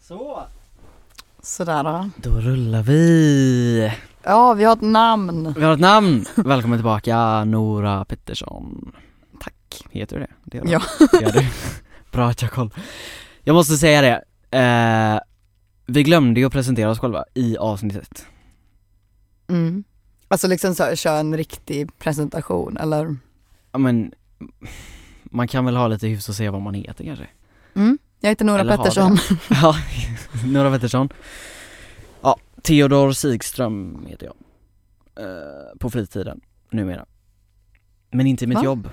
Så, Sådär då. då rullar vi. Ja, vi har ett namn. Vi har ett namn. Välkommen tillbaka Nora Pettersson. Tack. Heter du det? det gör Ja. du. Det gör du. Bra att jag har koll. Jag måste säga det. Eh, vi glömde ju att presentera oss själva i avsnittet. Mm. Alltså liksom så, kör en riktig presentation eller? Ja men, man kan väl ha lite hyfs och se vad man heter kanske. Mm. Jag heter Nora Eller har Pettersson. Ja, Nora Pettersson. Ja, Theodor Sigström heter jag. Eh, på fritiden, numera. Men inte i mitt Va? jobb.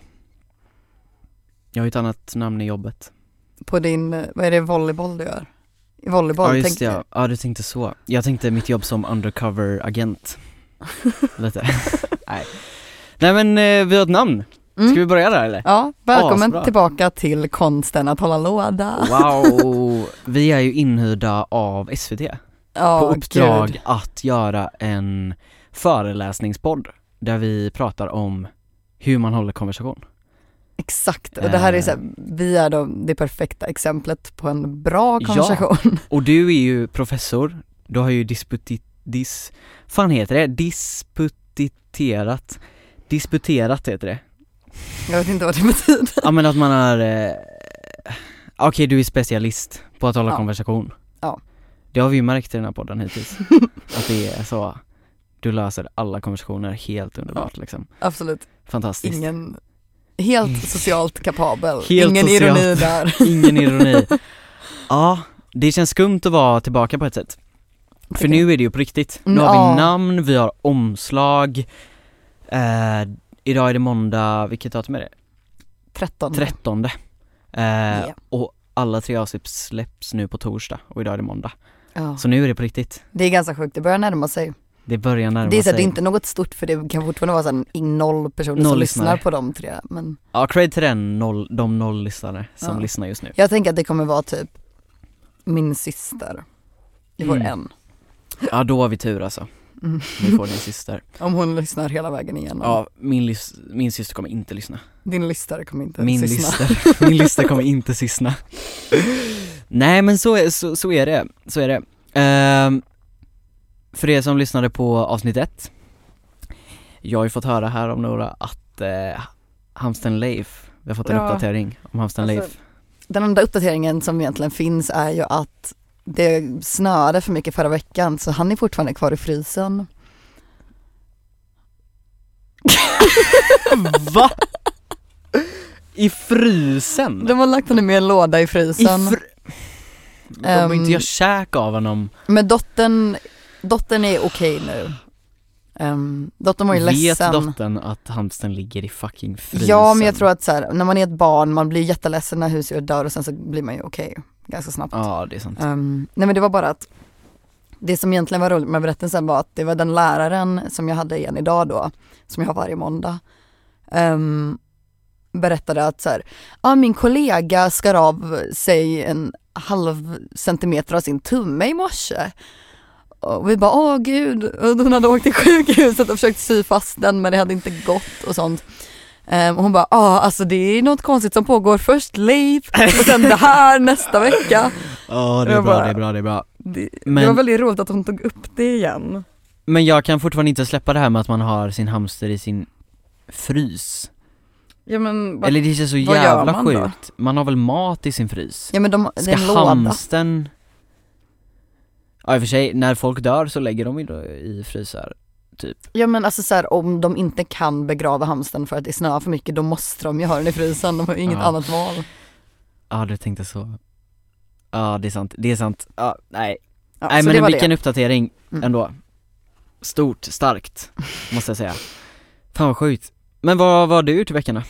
Jag har ju ett annat namn i jobbet. På din, eh, vad är det, volleyboll du gör? I volleyboll? ja just tänkte det, ja. ja du tänkte så. Jag tänkte mitt jobb som undercover-agent. Lite. Nej. Nej men eh, vi har ett namn. jag. Mm. Ska vi börja där eller? Ja, välkommen Asbra. tillbaka till konsten att hålla låda. Wow! Vi är ju inhyrda av SVT. Ja, på uppdrag gud. att göra en föreläsningspodd där vi pratar om hur man håller konversation. Exakt, och det här är så här, vi är då det perfekta exemplet på en bra konversation. Och du är ju professor, du har ju disputit, dis, fan heter det? Disputiterat, disputerat heter det. Jag vet inte vad det betyder. Ja men att man är, eh, okej du är specialist på att hålla Ja. konversation. Ja. Det har vi ju märkt i den här podden hittills, att det är så, du löser alla konversationer helt underbart liksom. Absolut, Fantastiskt. ingen, helt socialt kapabel, Helt ingen socialt. ironi där. Ingen ironi. Ja, det känns skumt att vara tillbaka på ett sätt. För nu är det ju på riktigt. Nu Mm, har ja. vi namn, vi har omslag. Eh, idag är det måndag, vilket datum är det? 13. 13. Eh, Mm. Ja. Och alla tre avsnitt släpps nu på torsdag och idag är det måndag. Ja. Så nu är det på riktigt. Det är ganska sjukt, det börjar närma sig. Det börjar närma det är så här, sig. det är inte något stort för det kan fortfarande vara så här, i noll personer Noll som lyssnare. lyssnar på de tre. Men Ja, cred till den noll, de noll lyssnare som Ja. lyssnar just nu. jag tänker att det kommer vara typ min syster. Vi får Mm. en. Ja, då har vi tur alltså. Mm. Vi får din syster. Om hon lyssnar hela vägen igenom. Ja, min, lys- min syster kommer inte lyssna. Din lyssnare kommer inte Min lyssna. lyster, min lyster kommer inte sissna. Nej men så är, så, så är det, så är det. Ehm, för er som lyssnade på avsnitt ett, jag har ju fått höra här om några att eh, Hamsten Leif, vi har fått en Ja. uppdatering om Hamsten Alltså, Leif. Den enda uppdateringen som egentligen finns är ju att det snöade för mycket förra veckan så han är fortfarande kvar i frysen. Va? I frysen? De har lagt honom i en låda i Mm. I frysen. fr- Kommer Ehm. inte jag käk av honom? Men dottern, dottern är okej nu. Um, dottern var ju Vet ledsen. dottern att Hamsten ligger i fucking frysen? Ja men jag tror att så här, när man är ett barn, man blir jätteledsen när husdjur dör och sen så blir man ju okej ganska snabbt. Ja det är sant. Ehm, nej men det var bara att det som egentligen var roligt med berättelsen var att det var den läraren som jag hade igen idag då, som jag har varje måndag, ehm, berättade att så här, ah, min kollega skar av sig en halv centimeter av sin tumme i morse. Och vi bara, åh gud, och hon hade åkt till sjukhuset och försökt sy fast den men det hade inte gått och sånt. Ehm, och hon bara, ah, alltså det är något konstigt som pågår, först late och sen det här nästa vecka. Ja det är jag bra, bara- det är bra, det är bra. Det, Men- det var väldigt roligt att hon tog upp det igen. Men jag kan fortfarande inte släppa det här med att man har sin hamster i sin frys. Ja men, vad- Eller det känns så vad gör jävla man då? sjukt. Man har väl mat i sin frys? ja, men de, det Ska är en låda. hamsten... Ja i och för sig, när folk dör så lägger de ju då i frysar, typ. Ja men alltså så här, om de inte kan begrava hamsten för att det snöar för mycket då måste de ju ha den i frysen, de har ju inget Ja. annat val. Ja du tänkte så. Ja det är sant, det är sant. Ja, nej. Ja, nej så det men var vilken det. uppdatering Mm. ändå. Stort, starkt, måste jag säga. Fan vad sjukt. Men vad vad har du gjort i veckan då?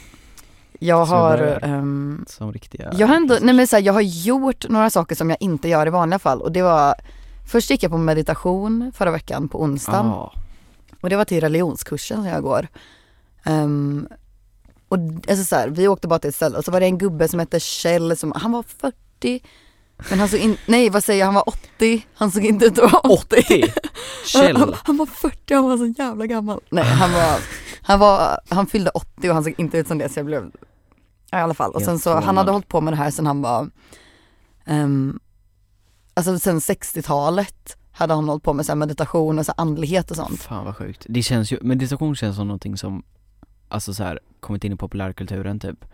Jag som vi har, börjar. ehm, Som riktiga... Jag har ändå, nej men så här, jag har gjort några saker som jag inte gör i vanliga fall och det var Först gick jag på meditation förra veckan på onsdagen Ja. och det var till religionskursen som jag går. Ehm, och alltså så här, vi åkte bara till ett ställe och så var det en gubbe som hette Kjell som, han var 40 men han såg inte, nej vad säger jag, han var 80, han såg inte ut att vara 80. 80! Kjell. Han, han var 40, han var så jävla gammal. Nej han var, han var, han fyllde 80 och han såg inte ut som det så jag blev, ja, i alla fall. Och sen Helt så, han förvånad. hade hållit på med det här sen han var, ehm, alltså sen 60-talet hade han hållit på med så här meditation och så här andlighet och sånt. Fan vad sjukt. Det känns ju, meditation känns som någonting som, alltså så här, kommit in i populärkulturen typ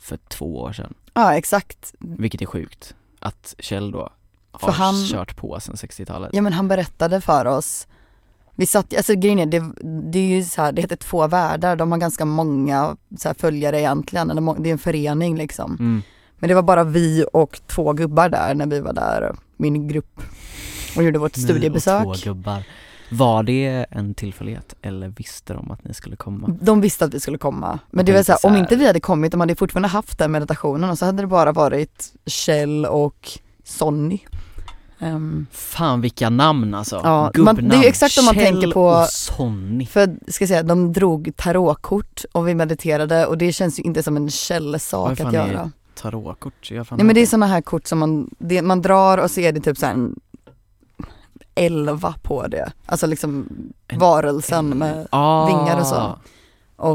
för två år sedan. Ja exakt. Vilket är sjukt. Att Kjell då För har han- kört på sedan 60-talet. Ja men han berättade för oss, vi satt, alltså grejen är, det, det är ju så här, det heter Två Världar, de har ganska många så här följare egentligen, eller må- det är en förening liksom. Mm. Men det var bara vi och två gubbar där när vi var där, min grupp, och gjorde vårt Ni och studiebesök. två gubbar. Var det en tillfällighet eller visste de att ni skulle komma? De visste att vi skulle komma. Men Jag det var tänkte så här, så om här- inte vi hade kommit, de hade fortfarande haft den meditationen och så hade det bara varit Kjell och Sonny. Ehm, Fan vilka namn alltså! Ja, Gubbnamn! man- det är ju exakt om man Kjell tänker på- och Sonny. för ska jag säga, de drog tarotkort och vi mediterade och det känns ju inte som en Vad källsak fan att är- göra. Tarotkort, jag fan Nej men det är sådana här kort som man, det, man drar och så är det typ så här en elva på det. Alltså liksom En varelsen med, Ah. vingar och så. och,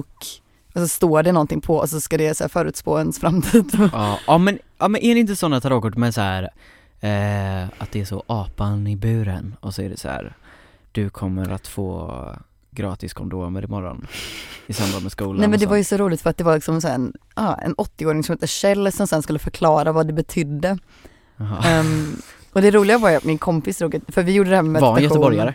och så står det någonting på och så ska det så här förutspå ens framtid. Ja, ja, men, ja men är det inte sådana tarotkort med så här eh, att det är så apan i buren och så är det så här du kommer att få gratis kondomer imorgon i samband med skolan Nej men det och var ju sånt. så roligt för att det var liksom så här en, ja, en 80-åring som hette Kjell som sen skulle förklara vad det betydde. Jaha. Ehm, och det roliga var ju att min kompis drog ett, för vi gjorde det här med Var han meditation. göteborgare?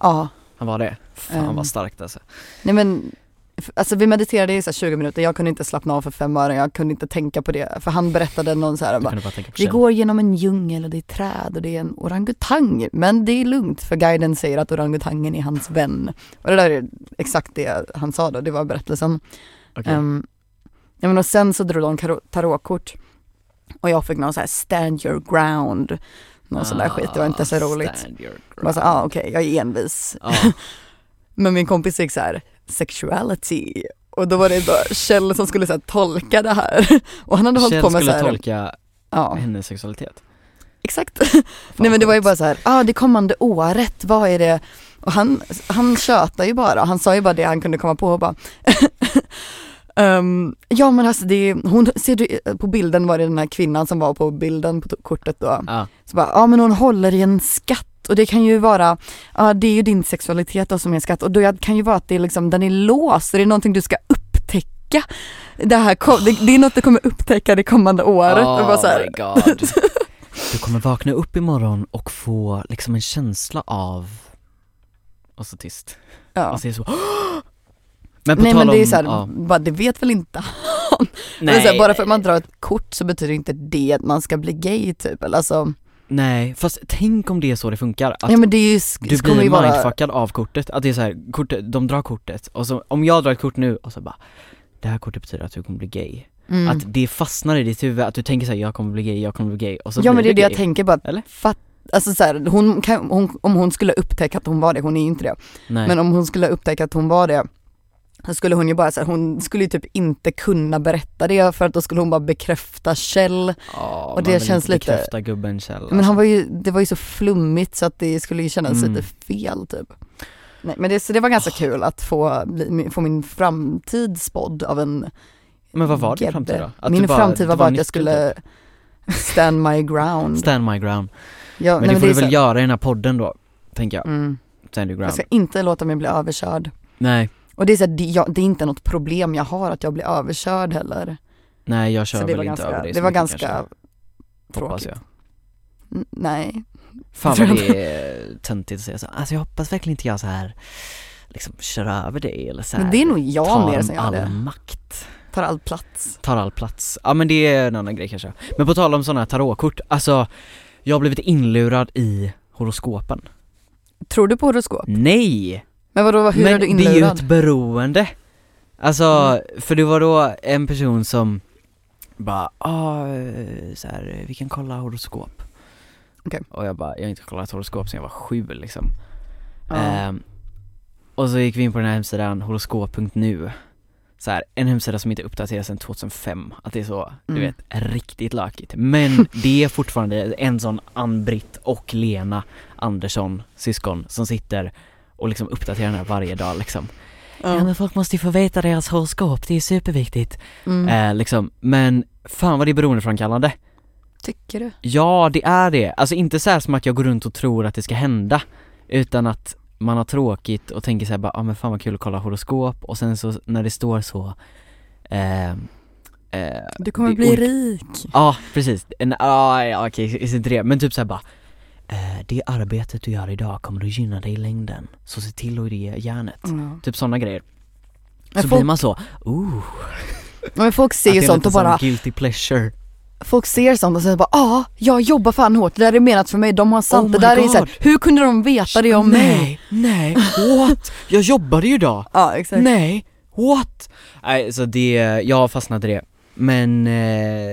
Ja. Han var det? Fan Ehm. vad starkt alltså. Nej men, f- alltså vi mediterade i så här 20 minuter, jag kunde inte slappna av för fem öre, jag kunde inte tänka på det. För han berättade någon så här, Du bara, kunde bara tänka på vi Kjell. går genom en djungel och det är träd och det är en orangutang. Men det är lugnt för guiden säger att orangutangen är hans vän. Och det där är exakt det han sa då, det var berättelsen. Okej. Ehm, ja, men och sen så drog de karo- tarotkort och jag fick någon så här stand your ground, någon sån där skit, det var inte så Ah, roligt. ah, stand your Jag sa, ground. ja ah, okej, jag är envis. Ja. Men min kompis fick så här, sexuality. Och då var det då Kjell som skulle så här, tolka det här. Och han hade hållit Kjell på med så skulle här, tolka ja, hennes sexualitet. exakt. Fan, Nej men det var ju sjukt. bara så här, ah det kommande året, vad är det? Och han, han tjötade ju bara, han sa ju bara det han kunde komma på och bara Ehm, ja men alltså det, är- hon, ser du, på bilden var det den här kvinnan som var på bilden på t- kortet då. Ja. Så bara, ja men hon håller i en skatt och det kan ju vara, ja det är ju din sexualitet då som är en skatt och det kan ju vara att det är liksom, den är låst och det är någonting du ska upptäcka. Det, här kom, det, det är något du kommer upptäcka det kommande året. Ah, och bara så här, Oh my god. Du kommer vakna upp imorgon och få liksom en känsla av och så tyst. ja. Och så är det så Men Alltså, på Nej tal men det är om, så här, ja. bara, det vet väl inte Men nej, så här, Bara för att man drar ett kort så betyder inte det att man ska bli gay typ eller alltså, nej, fast tänk om det är så det funkar. Att ja men det är ju, sk- du kommer blir ju vara- mindfuckad av kortet, att det är så här, kortet, de drar kortet och så, om jag drar ett kort nu och så bara Det här kortet betyder att du kommer bli gay. mm. Att det fastnar i ditt huvud, att du tänker såhär jag kommer bli gay, jag kommer bli gay och så Ja blir men det är du det jag gay. tänker bara, Eller? fatt, alltså så här, hon kan, hon, om hon skulle upptäcka att hon var det, hon är ju inte det, Nej. men om hon skulle upptäcka att hon var det så skulle hon ju bara så här, hon skulle ju typ inte kunna berätta det för att då skulle hon bara bekräfta Kjell. Ja, och man det vill inte känns lite- Bekräfta gubben Kjell Men han var ju, det var ju så flummigt så att det skulle ju kännas Mm. lite fel typ. Nej, men det, så det var ganska kul att få, bli- få min framtid spådd av en Men vad var din Gebbe. framtid då? Att du Min bara- framtid var det bara att nyckeln jag skulle typ. stand my ground. Stand my ground. Ja, Men det får är du så väl här- göra i den här podden då, tänker jag. Mm. Stand your Jag ground. ska inte låta mig bli överkörd. Nej, Och det är, så här, det, jag, det är inte något problem jag har att jag blir överkörd heller. nej jag kör så det väl var inte över ganska, dig det så var mycket ganska, kanske, Hoppas jag. N- nej. Fan tror vad jag det är eh, töntigt att säga så. Alltså jag hoppas verkligen inte jag så här liksom kör över dig eller så här, Men det är nog jag tar mer som gör all det. makt, Tar all plats. tar all plats. Ja men det är en annan grej kanske. Men på tal om sådana här tarotkort, alltså jag har blivit inlurad i horoskopen. Tror du på horoskop? Nej! Men vadå, hur men är du det är ju ett inlurad? Mm. beroende. Alltså, för det var då en person som bara, ah, eh, så här, eh, vi kan kolla horoskop. Okej. Och jag bara, jag har inte kollat horoskop sedan jag var sju liksom. Ja. Ehm, och så gick vi in på den här hemsidan, horoskop.nu. Så här, en hemsida som inte uppdateras sedan 2005, att det är så, du Mm. vet, riktigt lökigt. Men det är fortfarande en sån Ann-Britt och Lena Andersson, syskon, som sitter och liksom uppdaterar den här varje dag liksom. Ja men folk måste ju få veta deras horoskop, det är superviktigt. Ehm, Mm. Eh, liksom, men fan vad det är beroendeframkallande. Tycker du? Ja, det är det. Alltså inte så här som att jag går runt och tror att det ska hända, utan att man har tråkigt och tänker så här bara, ah, men fan vad kul att kolla horoskop och sen så när det står så eh, eh, Du kommer Det- bli och- rik. Ja, precis. En, ja, ja, okej, okay, inte det. Men typ såhär bara, eh, det arbetet du gör idag kommer att gynna dig i längden, så se till att ge järnet. Ja. Typ sådana grejer. Mm. Men Så folk- blir man så, oh, Men folk ser att ju är sånt lite och bara, sån guilty pleasure. folk ser sånt och säger bara ja, jag jobbar fan hårt, det där är menat för mig, de har sant, Oh det my där är God. så här, hur kunde de veta det om mig? nej, nej, what? Jag jobbade ju idag. Ja exakt. Nej, what? Nej, så det, jag har fastnat i det. Men eh,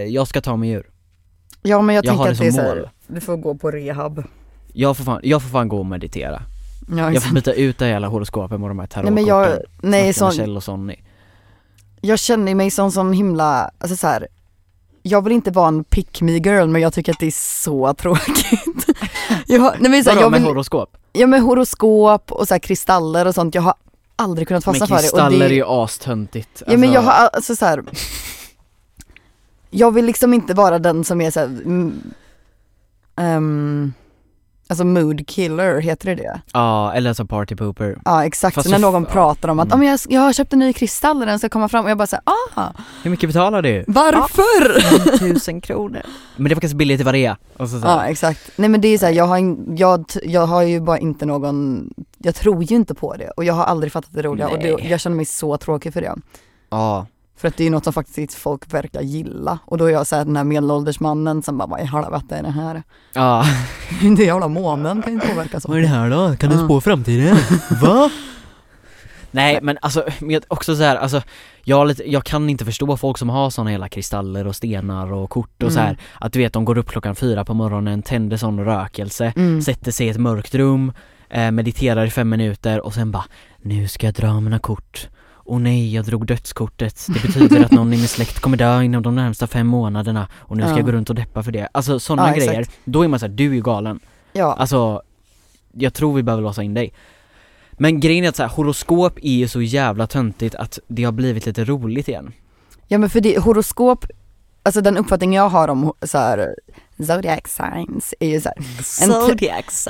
jag ska ta mig ur. Ja men jag, Jag har tänker det att det som är så mål. här, du får gå på rehab. Jag får fan, jag får fan gå och meditera. Ja, Jag exakt. får byta ut det hela horoskopen med de här Nej tarotkorten. men jag, nej Snacka med sån, Kjell och Sonny. jag känner mig som sån himla, alltså så här. Jag vill inte vara en pick me girl men jag tycker att det är så tråkigt. Jag, har- nej men så här, Vadå jag med vill, horoskop? ja men horoskop och så här kristaller och sånt, jag har aldrig kunnat Men fastna för det. och kristaller det- är ju astöntigt. Ja men jag har, alltså så här. Jag vill liksom inte vara den som är så här, mm, ehm, alltså mood killer, heter det det? Ja, eller alltså party pooper. Ja exakt, Fast när så- någon ja. pratar om att Mm. "Ja, men jag, jag har köpt en ny kristall och den ska komma fram och jag bara såhär, aha, Hur mycket betalar du? varför? Ja. Tusen kronor. Men det var kanske billigt i Varea. Och så, så. här. exakt, nej men det är såhär, jag, har in- jag, t- jag har ju bara inte någon, jag tror ju inte på det och jag har aldrig fattat det roliga och det, Nej. jag känner mig så tråkig för det. Ja. För att det är ju något som faktiskt folk verkar gilla och då är jag såhär den här medelålders mannen som bara, vad i helvete är det här? Ja. Inte jävla månen kan ju påverka så. Vad är det här då? Kan du Ja. spå framtiden? Va? Nej men alltså, men jag- också så här, alltså, jag, har lite, jag kan inte förstå folk som har såna hela kristaller och stenar och kort och så här. Mm. Att du vet de går upp klockan fyra på morgonen, tänder sån rökelse, Mm. sätter sig i ett mörkt rum, eh, mediterar i fem minuter och sen bara Nu ska jag dra mina kort. Och nej, jag drog dödskortet. Det betyder att någon i min släkt kommer dö inom de närmsta fem månaderna och nu ska Ja. jag gå runt och deppa för det. Alltså sådana Ja, grejer. Då är man såhär, du är ju galen. Ja, Alltså, jag tror vi behöver låsa in dig. Men grejen är att så här, horoskop är ju så jävla töntigt att det har blivit lite roligt igen. ja men för det, horoskop, alltså den uppfattning jag har om ho- så här, zodiac signs är ju så här,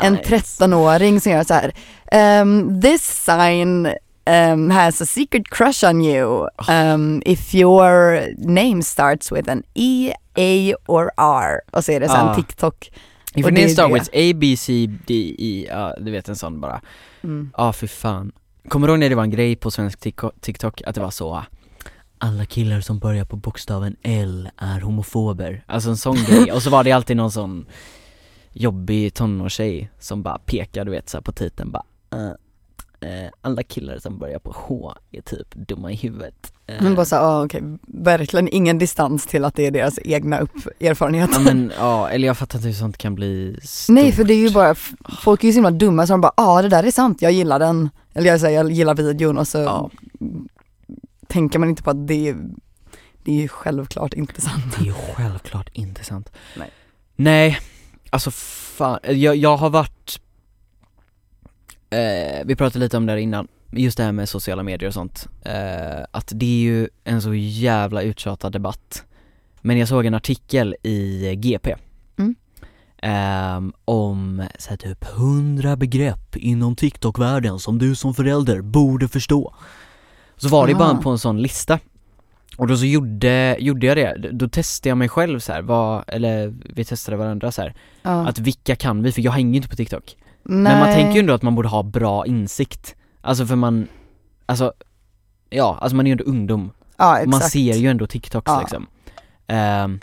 en 13-åring som gör så här, ehm, this sign ehm, has a secret crush on you Oh. ehm, if your name starts with an E, A or R och så är det så här Ah. en TikTok. If your och det är name starts det. with A, B, C, D, E, ja du vet en sån bara. Mm. Ja, för fan. Kommer du ihåg när det var en grej på svensk Tik- TikTok att det var så ah, alla killar som börjar på bokstaven L är homofober. Alltså en sån grej. Och så var det alltid någon sån jobbig tonårstjej som bara pekar du vet så här på titeln bara eh, eh, alla killar som börjar på H är typ dumma i huvudet. Eh, Men bara så här, ah, okej, verkligen ingen distans till att det är deras egna upp- erfarenheter. Ja men ja, eller jag fattar inte hur sånt kan bli stort. Nej för det är ju bara, f- folk är ju så himla dumma så de bara ja ah, det där är sant, jag gillar den. Eller jag säger jag gillar videon och så Ja. tänker man inte på att det är, det är ju självklart inte sant. Det är ju självklart inte sant. Nej. Nej, alltså fan, jag, jag har varit eh, Vi pratade lite om det här innan, just det här med sociala medier och sånt. Eh, att det är ju en så jävla uttjatad debatt. Men jag såg en artikel i GP Mm. ehm, om så här, typ 100 begrepp inom TikTok-världen som du som förälder borde förstå. Så var det ju bara Ah. på en sån lista. Och då så gjorde, gjorde jag det, då testade jag mig själv så här, vad, eller vi testade varandra så här, Ja. att vilka kan vi? För jag hänger ju inte på TikTok. Nej. Men man tänker ju ändå att man borde ha bra insikt. Alltså för man, alltså, ja, alltså man är ju ändå ungdom. ja, Man exakt. ser ju ändå TikToks Ja. liksom. Ehm,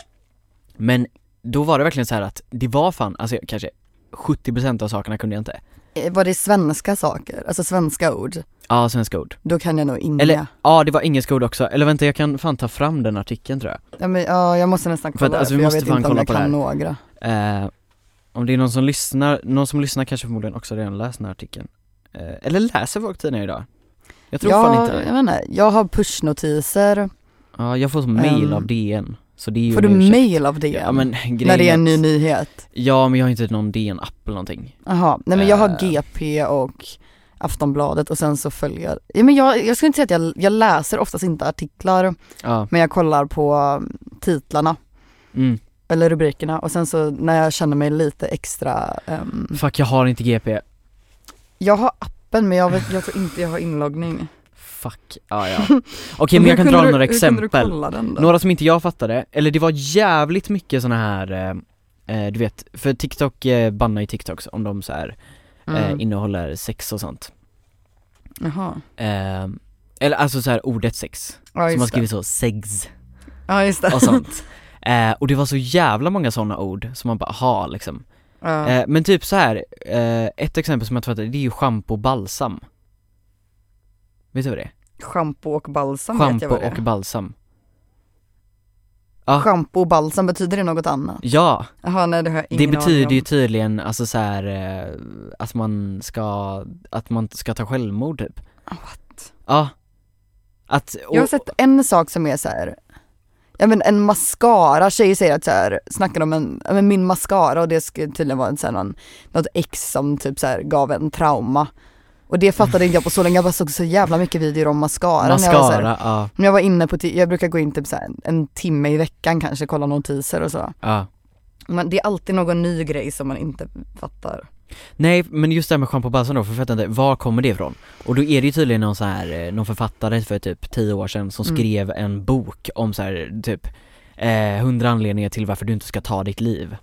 men då var det verkligen så här att det var fan, alltså jag- kanske 70% av sakerna kunde jag inte. Eh, Var det svenska saker, alltså svenska ord, Ja, svenska ord. då kan jag nog inga. Eller- Ja, det var engelska ord också. Eller vänta, jag kan fan ta fram den artikeln tror jag. Ja, men, ja jag måste nästan att, kolla det, alltså, vi för jag måste vet fan inte om kolla jag på kan det några. Eh, om det är någon som lyssnar, någon som lyssnar kanske förmodligen också redan läst den här artikeln. Eh, eller läser folk tidningar idag? Jag tror fan inte Jag, det. jag, vet inte, jag har pushnotiser, Ja, jag får mail Ehm, av DN. Så det är ju får en du ursäkt. mail av det? Ja men grejen när det är en att- ny nyhet? Ja men jag har inte någon DN-app eller någonting. Jaha, nej men jag har Eh. GP och Aftonbladet och sen så följer jag, ja, men jag, jag skulle inte säga att jag, jag läser oftast inte artiklar Ja, men jag kollar på um, titlarna mm. eller rubrikerna och sen så när jag känner mig lite extra, ehm, Fuck jag har inte GP. jag har appen men jag, vet, jag tror inte jag har inloggning. Fuck, ah, ja Okej men jag kan Hur kunde dra du- några Hur kunde du exempel. kolla den då? Några som inte jag fattade, eller det var jävligt mycket såna här, eh, eh, du vet, för TikTok eh, bannar ju TikToks om de så här eh, Mm. innehåller sex och sånt. Jaha. Eh, eller alltså så här ordet sex, Ja som har just det. skrivit så, sex. Ja just det. och sånt. Eh, och det var så jävla många sådana ord som man bara, ha liksom. Ja. Eh, men typ så här eh, ett exempel som jag inte fattade, det är ju schampo och balsam. Vet du vad det är? Shampoo och balsam vet jag Schampo vad det och är. balsam. Ja. Shampoo och balsam, betyder det något annat? Ja, Jaha nej det har jag det ingen aning betyder om. ju tydligen alltså så här eh, att man ska, att man ska ta självmord typ. Ah, What? Ja. Att, och, Jag har sett en sak som är så här. Ja men en mascara, tjejer säger att så här, snackar om en, ja, men min mascara och det skulle tydligen vara en, så här, någon, något ex som typ så här, gav en trauma. Och det fattade inte jag på så länge, jag bara såg så jävla mycket videor om mascara. när Jag var, så här, mascara, ja, när jag var inne på, ti- jag brukar gå in typ så här, en timme i veckan kanske, kolla notiser och så. ja. Men det är alltid någon ny grej som man inte fattar. Nej men just det här med schampo och balsam då, för jag fattar inte, var kommer det ifrån? Och då är det ju tydligen någon så här, eh, någon författare för typ 10 år sedan som Mm. skrev en bok om så här typ eh, 100 anledningar till varför du inte ska ta ditt liv.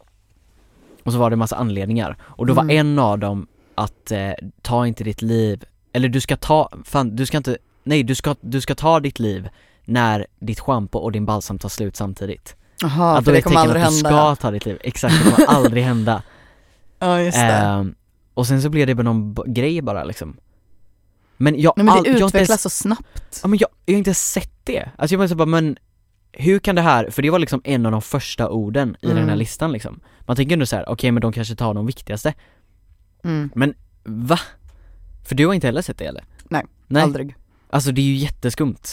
Och så var det en massa anledningar, och då var Mm. en av dem att eh, ta inte ditt liv, eller du ska ta, fan du ska inte, nej du ska, du ska ta ditt liv när ditt schampo och din balsam tar slut samtidigt. Jaha, att då för är det det kommer tecken aldrig att du hända. ska ta ditt liv, exakt, det kommer aldrig hända. Ja just det. Ehm, och sen så blev det bara någon b- grej bara liksom. Men jag, Nej men det all- jag, har inte utvecklas ens, så snabbt. ja, men jag, jag har inte ens sett det. Alltså jag bara, så bara men hur kan det här, för det var liksom en av de första orden i den här Mm. listan liksom. Man tänker ändå så här: okej men de kanske tar de viktigaste. Mm, Va? För du har inte heller sett det eller? Nej, Nej. Aldrig. Alltså det är ju jätteskumt.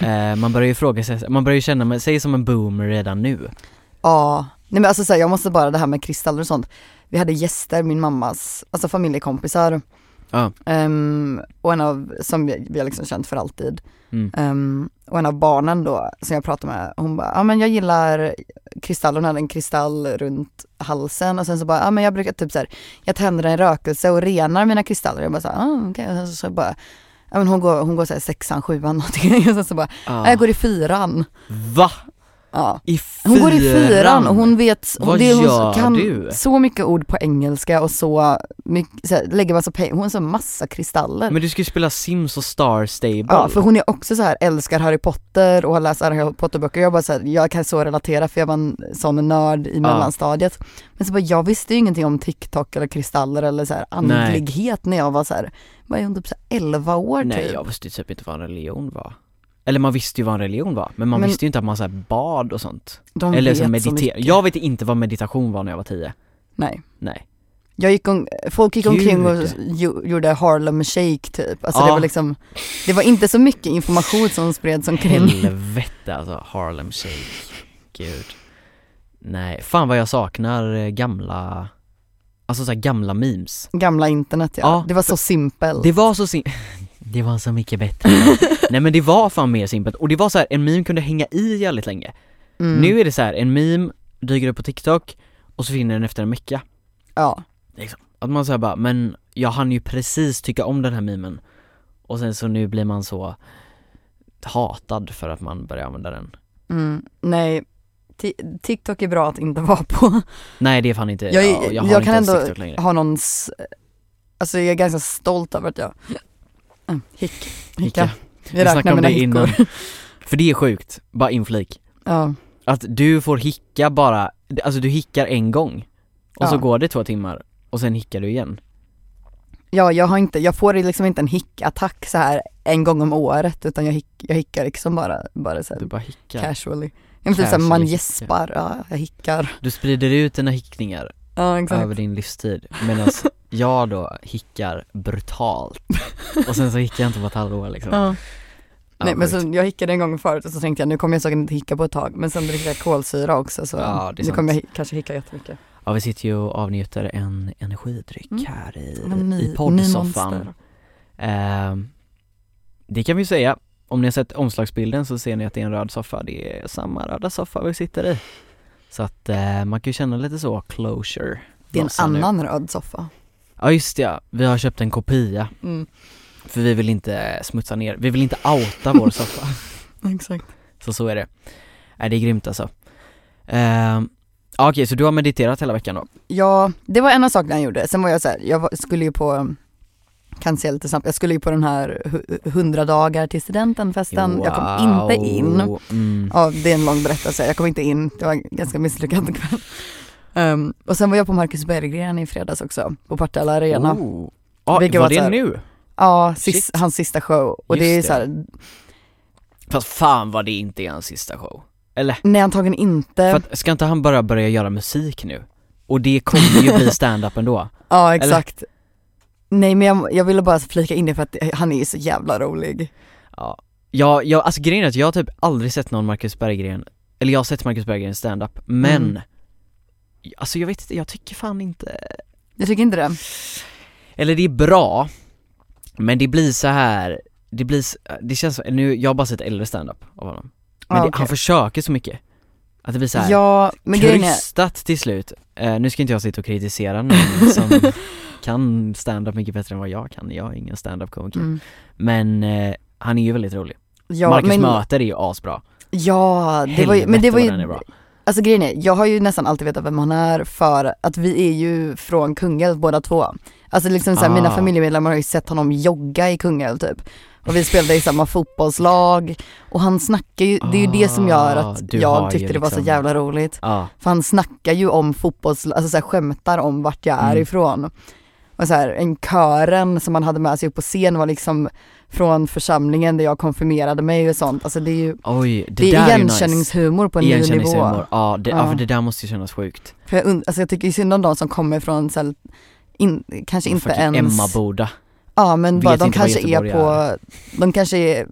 Eh, man börjar ju fråga sig, man börjar ju känna med- sig som en boomer redan nu. Ja, nej men alltså så här, jag måste bara det här med kristaller och sånt. Vi hade gäster, min mammas, alltså familjekompisar. Ja. Ehm, och en av, som vi, vi har liksom känt för alltid. Mm. Ehm, och en av barnen då, som jag pratade med, hon bara, ja men jag gillar kristall, hon hade en kristall runt halsen och sen så bara, ja men jag brukar typ så här, jag tänder en rökelse och renar mina kristaller. Jag bara så här, ah, okej, och sen så, så bara, ja men hon går, hon går så här sexan, sjuan någonting och sen så bara, Ah. ja jag går i fyran. Va? Ja. I Hon går i fyran och hon vet, Vad hon, det, hon gör kan du? så mycket ord på engelska och så, mycket, så här, lägger massa pengar, hon har så massa kristaller. Men du ska ju spela Sims och Star Stable. ja, för hon är också så här älskar Harry Potter och har läst alla Harry Potter-böcker. Jag bara så här, jag kan så relatera för jag var en sån nörd i mellanstadiet. Men så bara, jag visste ju ingenting om TikTok eller kristaller eller så här andlighet när jag var så här, var jag typ så här 11 år Nej typ. jag visste ju typ inte vad en religion var Eller man visste ju vad en religion var, men man Men- visste ju inte att man så här bad och sånt De Eller så vet så meditera, mycket. jag vet inte vad meditation var när jag var tio Nej. Nej Jag gick om, folk gick omkring och Gud. ju, gjorde Harlem Shake typ. Alltså det Ja. var liksom, det var inte så mycket information som spreds Mm. omkring. Helvete alltså, Harlem Shake, gud Nej, fan vad jag saknar eh, gamla, alltså så här gamla memes Gamla internet ja. Ja. det var så simpelt. Det var så sim- Det var så mycket bättre Nej men det var fan mer simpelt, och det var så här, en meme kunde hänga i jävligt länge Mm. Nu är det så här, en meme dyker upp på TikTok och så finner den efter en vecka Ja. Att man säger bara, men jag hann ju precis tycka om den här mimen Och sen så nu blir man så hatad för att man börjar använda den Mm. Nej, Ti- TikTok är bra att inte vara på. Nej det är fan inte, Jag jag, är- jag, har jag inte kan ens ändå- TikTok längre Har någon, s- alltså jag är ganska stolt över att jag, Mm, hick, hicka. Hicka. Vi räknar mina hickor. För det är sjukt, bara inflik Ja. Att du får hicka bara, alltså du hickar en gång Och så Ja. går det två timmar och sen hickar du igen ja, jag har inte, jag får liksom inte en hickattack så här en gång om året utan jag, hick, jag hickar liksom bara, bara så här Du bara hickar Casually. Ja, men typ såhär, Casually man hicka. gäspar, ja, jag hickar. Du sprider ut dina hickningar Ja exakt. över din livstid medan jag då hickar brutalt Och sen så hickar jag inte på ett halvår liksom Ja. Ja, Nej men sjukt. så, jag hickade en gång förut och så tänkte jag nu kommer jag säkert inte hicka på ett tag men sen dricker jag kolsyra också så Ja, det är nu sant. kommer jag hi- kanske hicka jättemycket. Ja vi sitter ju och avnjuter en energidryck Mm. här i, Men ny- i ny poddsoffan monster. Ehm, Det kan vi säga, om ni har sett omslagsbilden så ser ni att det är en röd soffa, det är samma röda soffa vi sitter i Så att eh, man kan ju känna lite så, closure. Det är en Brasan nu. annan röd soffa. Ja just det, ja. vi har köpt en kopia. Mm, För vi vill inte smutsa ner, vi vill inte outa vår soffa. exakt. Så så är det. Nej det är grymt alltså. Ehm, ja, okej, så du har mediterat hela veckan då? Ja, det var en av sakerna jag gjorde. Sen var jag så här, jag var, skulle ju på, um, kan säga lite snabbt, jag skulle ju på den här hu- 100 dagar till studentenfesten. Jag kom inte in. Wow. Mm. Ja, det är en lång berättelse. Jag kom inte in, det var en ganska misslyckad kväll. Um, och sen var jag på Marcus Berggren i fredags också, på Partille Arena. Oh. Ja, Vilket var var så det här- nu? Ja, sis, Shit. hans sista show. Och Just det är ju det. så här, Fast fan vad det inte är hans sista show. Eller? nej antagligen inte. För att, ska inte han bara börja göra musik nu? Och det kommer ju bli stand-up ändå. ja, eller? exakt. Nej men jag, jag ville bara flika in det för att han är ju så jävla rolig. Ja, jag, jag, alltså grejen är att jag har typ aldrig sett någon Marcus Berggren, eller jag har sett Marcus Berggren stand-up, men Mm. Alltså jag vet inte, jag tycker fan inte Jag tycker inte det. Eller det är bra, men det blir så här det blir, s- det känns som, nu, jag har bara sett äldre stand-up av honom Men Ja, det, Ah, okej. han försöker så mycket Att det blir så här Ja, men grejen är, krystat till slut Eh, Nu ska inte jag sitta och kritisera någon som kan stand-up mycket bättre än vad jag kan, jag är ingen stand-up komiker mm, Men eh, han är ju väldigt rolig ja, Marcus men, Möter är ju asbra ja, det var ju, men det Helvete var vad den är ju, bra. alltså grejen är, jag har ju nästan alltid vetat vem han är för att vi är ju från Kungälv båda två. Alltså liksom såhär, mina Ah. familjemedlemmar har ju sett honom jogga i Kungälv typ. Och vi spelade i samma fotbollslag och han snackar ju, det är ju det som gör Ah, att du har ju jag tyckte det var så liksom- jävla roligt. Ja, För han snackar ju om fotbolls, alltså så här, skämtar om vart jag är Mm. ifrån. Och så här, en kören som han hade med sig upp på scen var liksom från församlingen där jag konfirmerade mig och sånt. Alltså det är ju, oj det, det, där är är ju nice igenkänningshumor på en ny nivå. Igenkänningshumor, ja, det, ja. Ja. för det där måste ju kännas sjukt För jag, und- alltså jag tycker ju synd om de som kommer från så här, in, kanske inte Fucking ens, Emmaboda ja men Vet bara, de inte vad kanske är Göteborg på, de kanske är,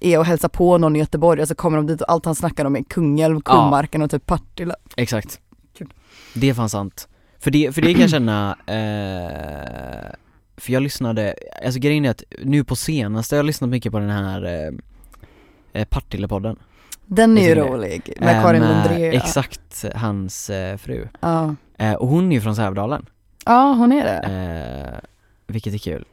är och hälsar på någon i Göteborg och så kommer de dit och allt han snackar om är Kungälv, Ja. Kummarken och typ Partille. Exakt Kul. Det är fan sant För det, för det kan jag känna, eh, för jag lyssnade, alltså grejen är att nu på senaste har jag lyssnat mycket på den här eh, eh, Partille-podden Den är ju Det är det. rolig, med Eh, Karin med Lundré. Exakt, hans eh, fru Ja. eh, Och hon är ju från Sävdalen, Ja hon är det. eh, vilket är kul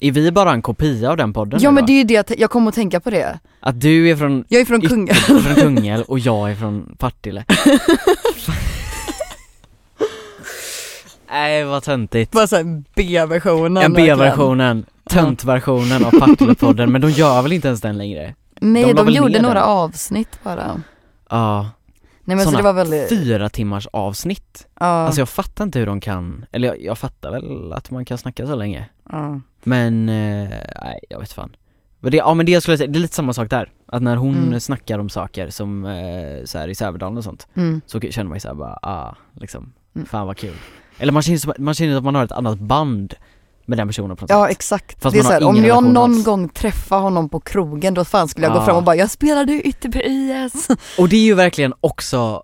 Är vi bara en kopia av den podden Ja nu men då? det är ju det, jag t- jag kom att tänka på det. Att du är från Jag är från Kungälv. från Kungälv och jag är från Partille Nej vad töntigt Bara såhär B-versionen. En verkligen. B-versionen, töntversionen av Partille-podden men de gör väl inte ens den längre? De Nej la de, väl ner gjorde några den? avsnitt bara. Ja, Nej men så Såna det var väldigt, fyra timmars avsnitt ja. Alltså jag fattar inte hur de kan, eller jag, jag fattar väl att man kan snacka så länge ja. Men, eh, nej jag vet fan Men det, Ja men det jag skulle säga, det är lite samma sak där Att när hon Mm. snackar om saker som eh, så här i Sävedalen och sånt Mm. så känner man ju såhär bara, ah, liksom, Mm. fan vad kul. Eller man känner, som- man känner att man har ett annat band med den personen på något ja sätt. exakt. Alltså, Fast det är man har såhär, om ingen jag relation någon alls. gång träffar honom på krogen då fan skulle jag Ja. gå fram och bara jag spelade i Ytterby IS. Och det är ju verkligen också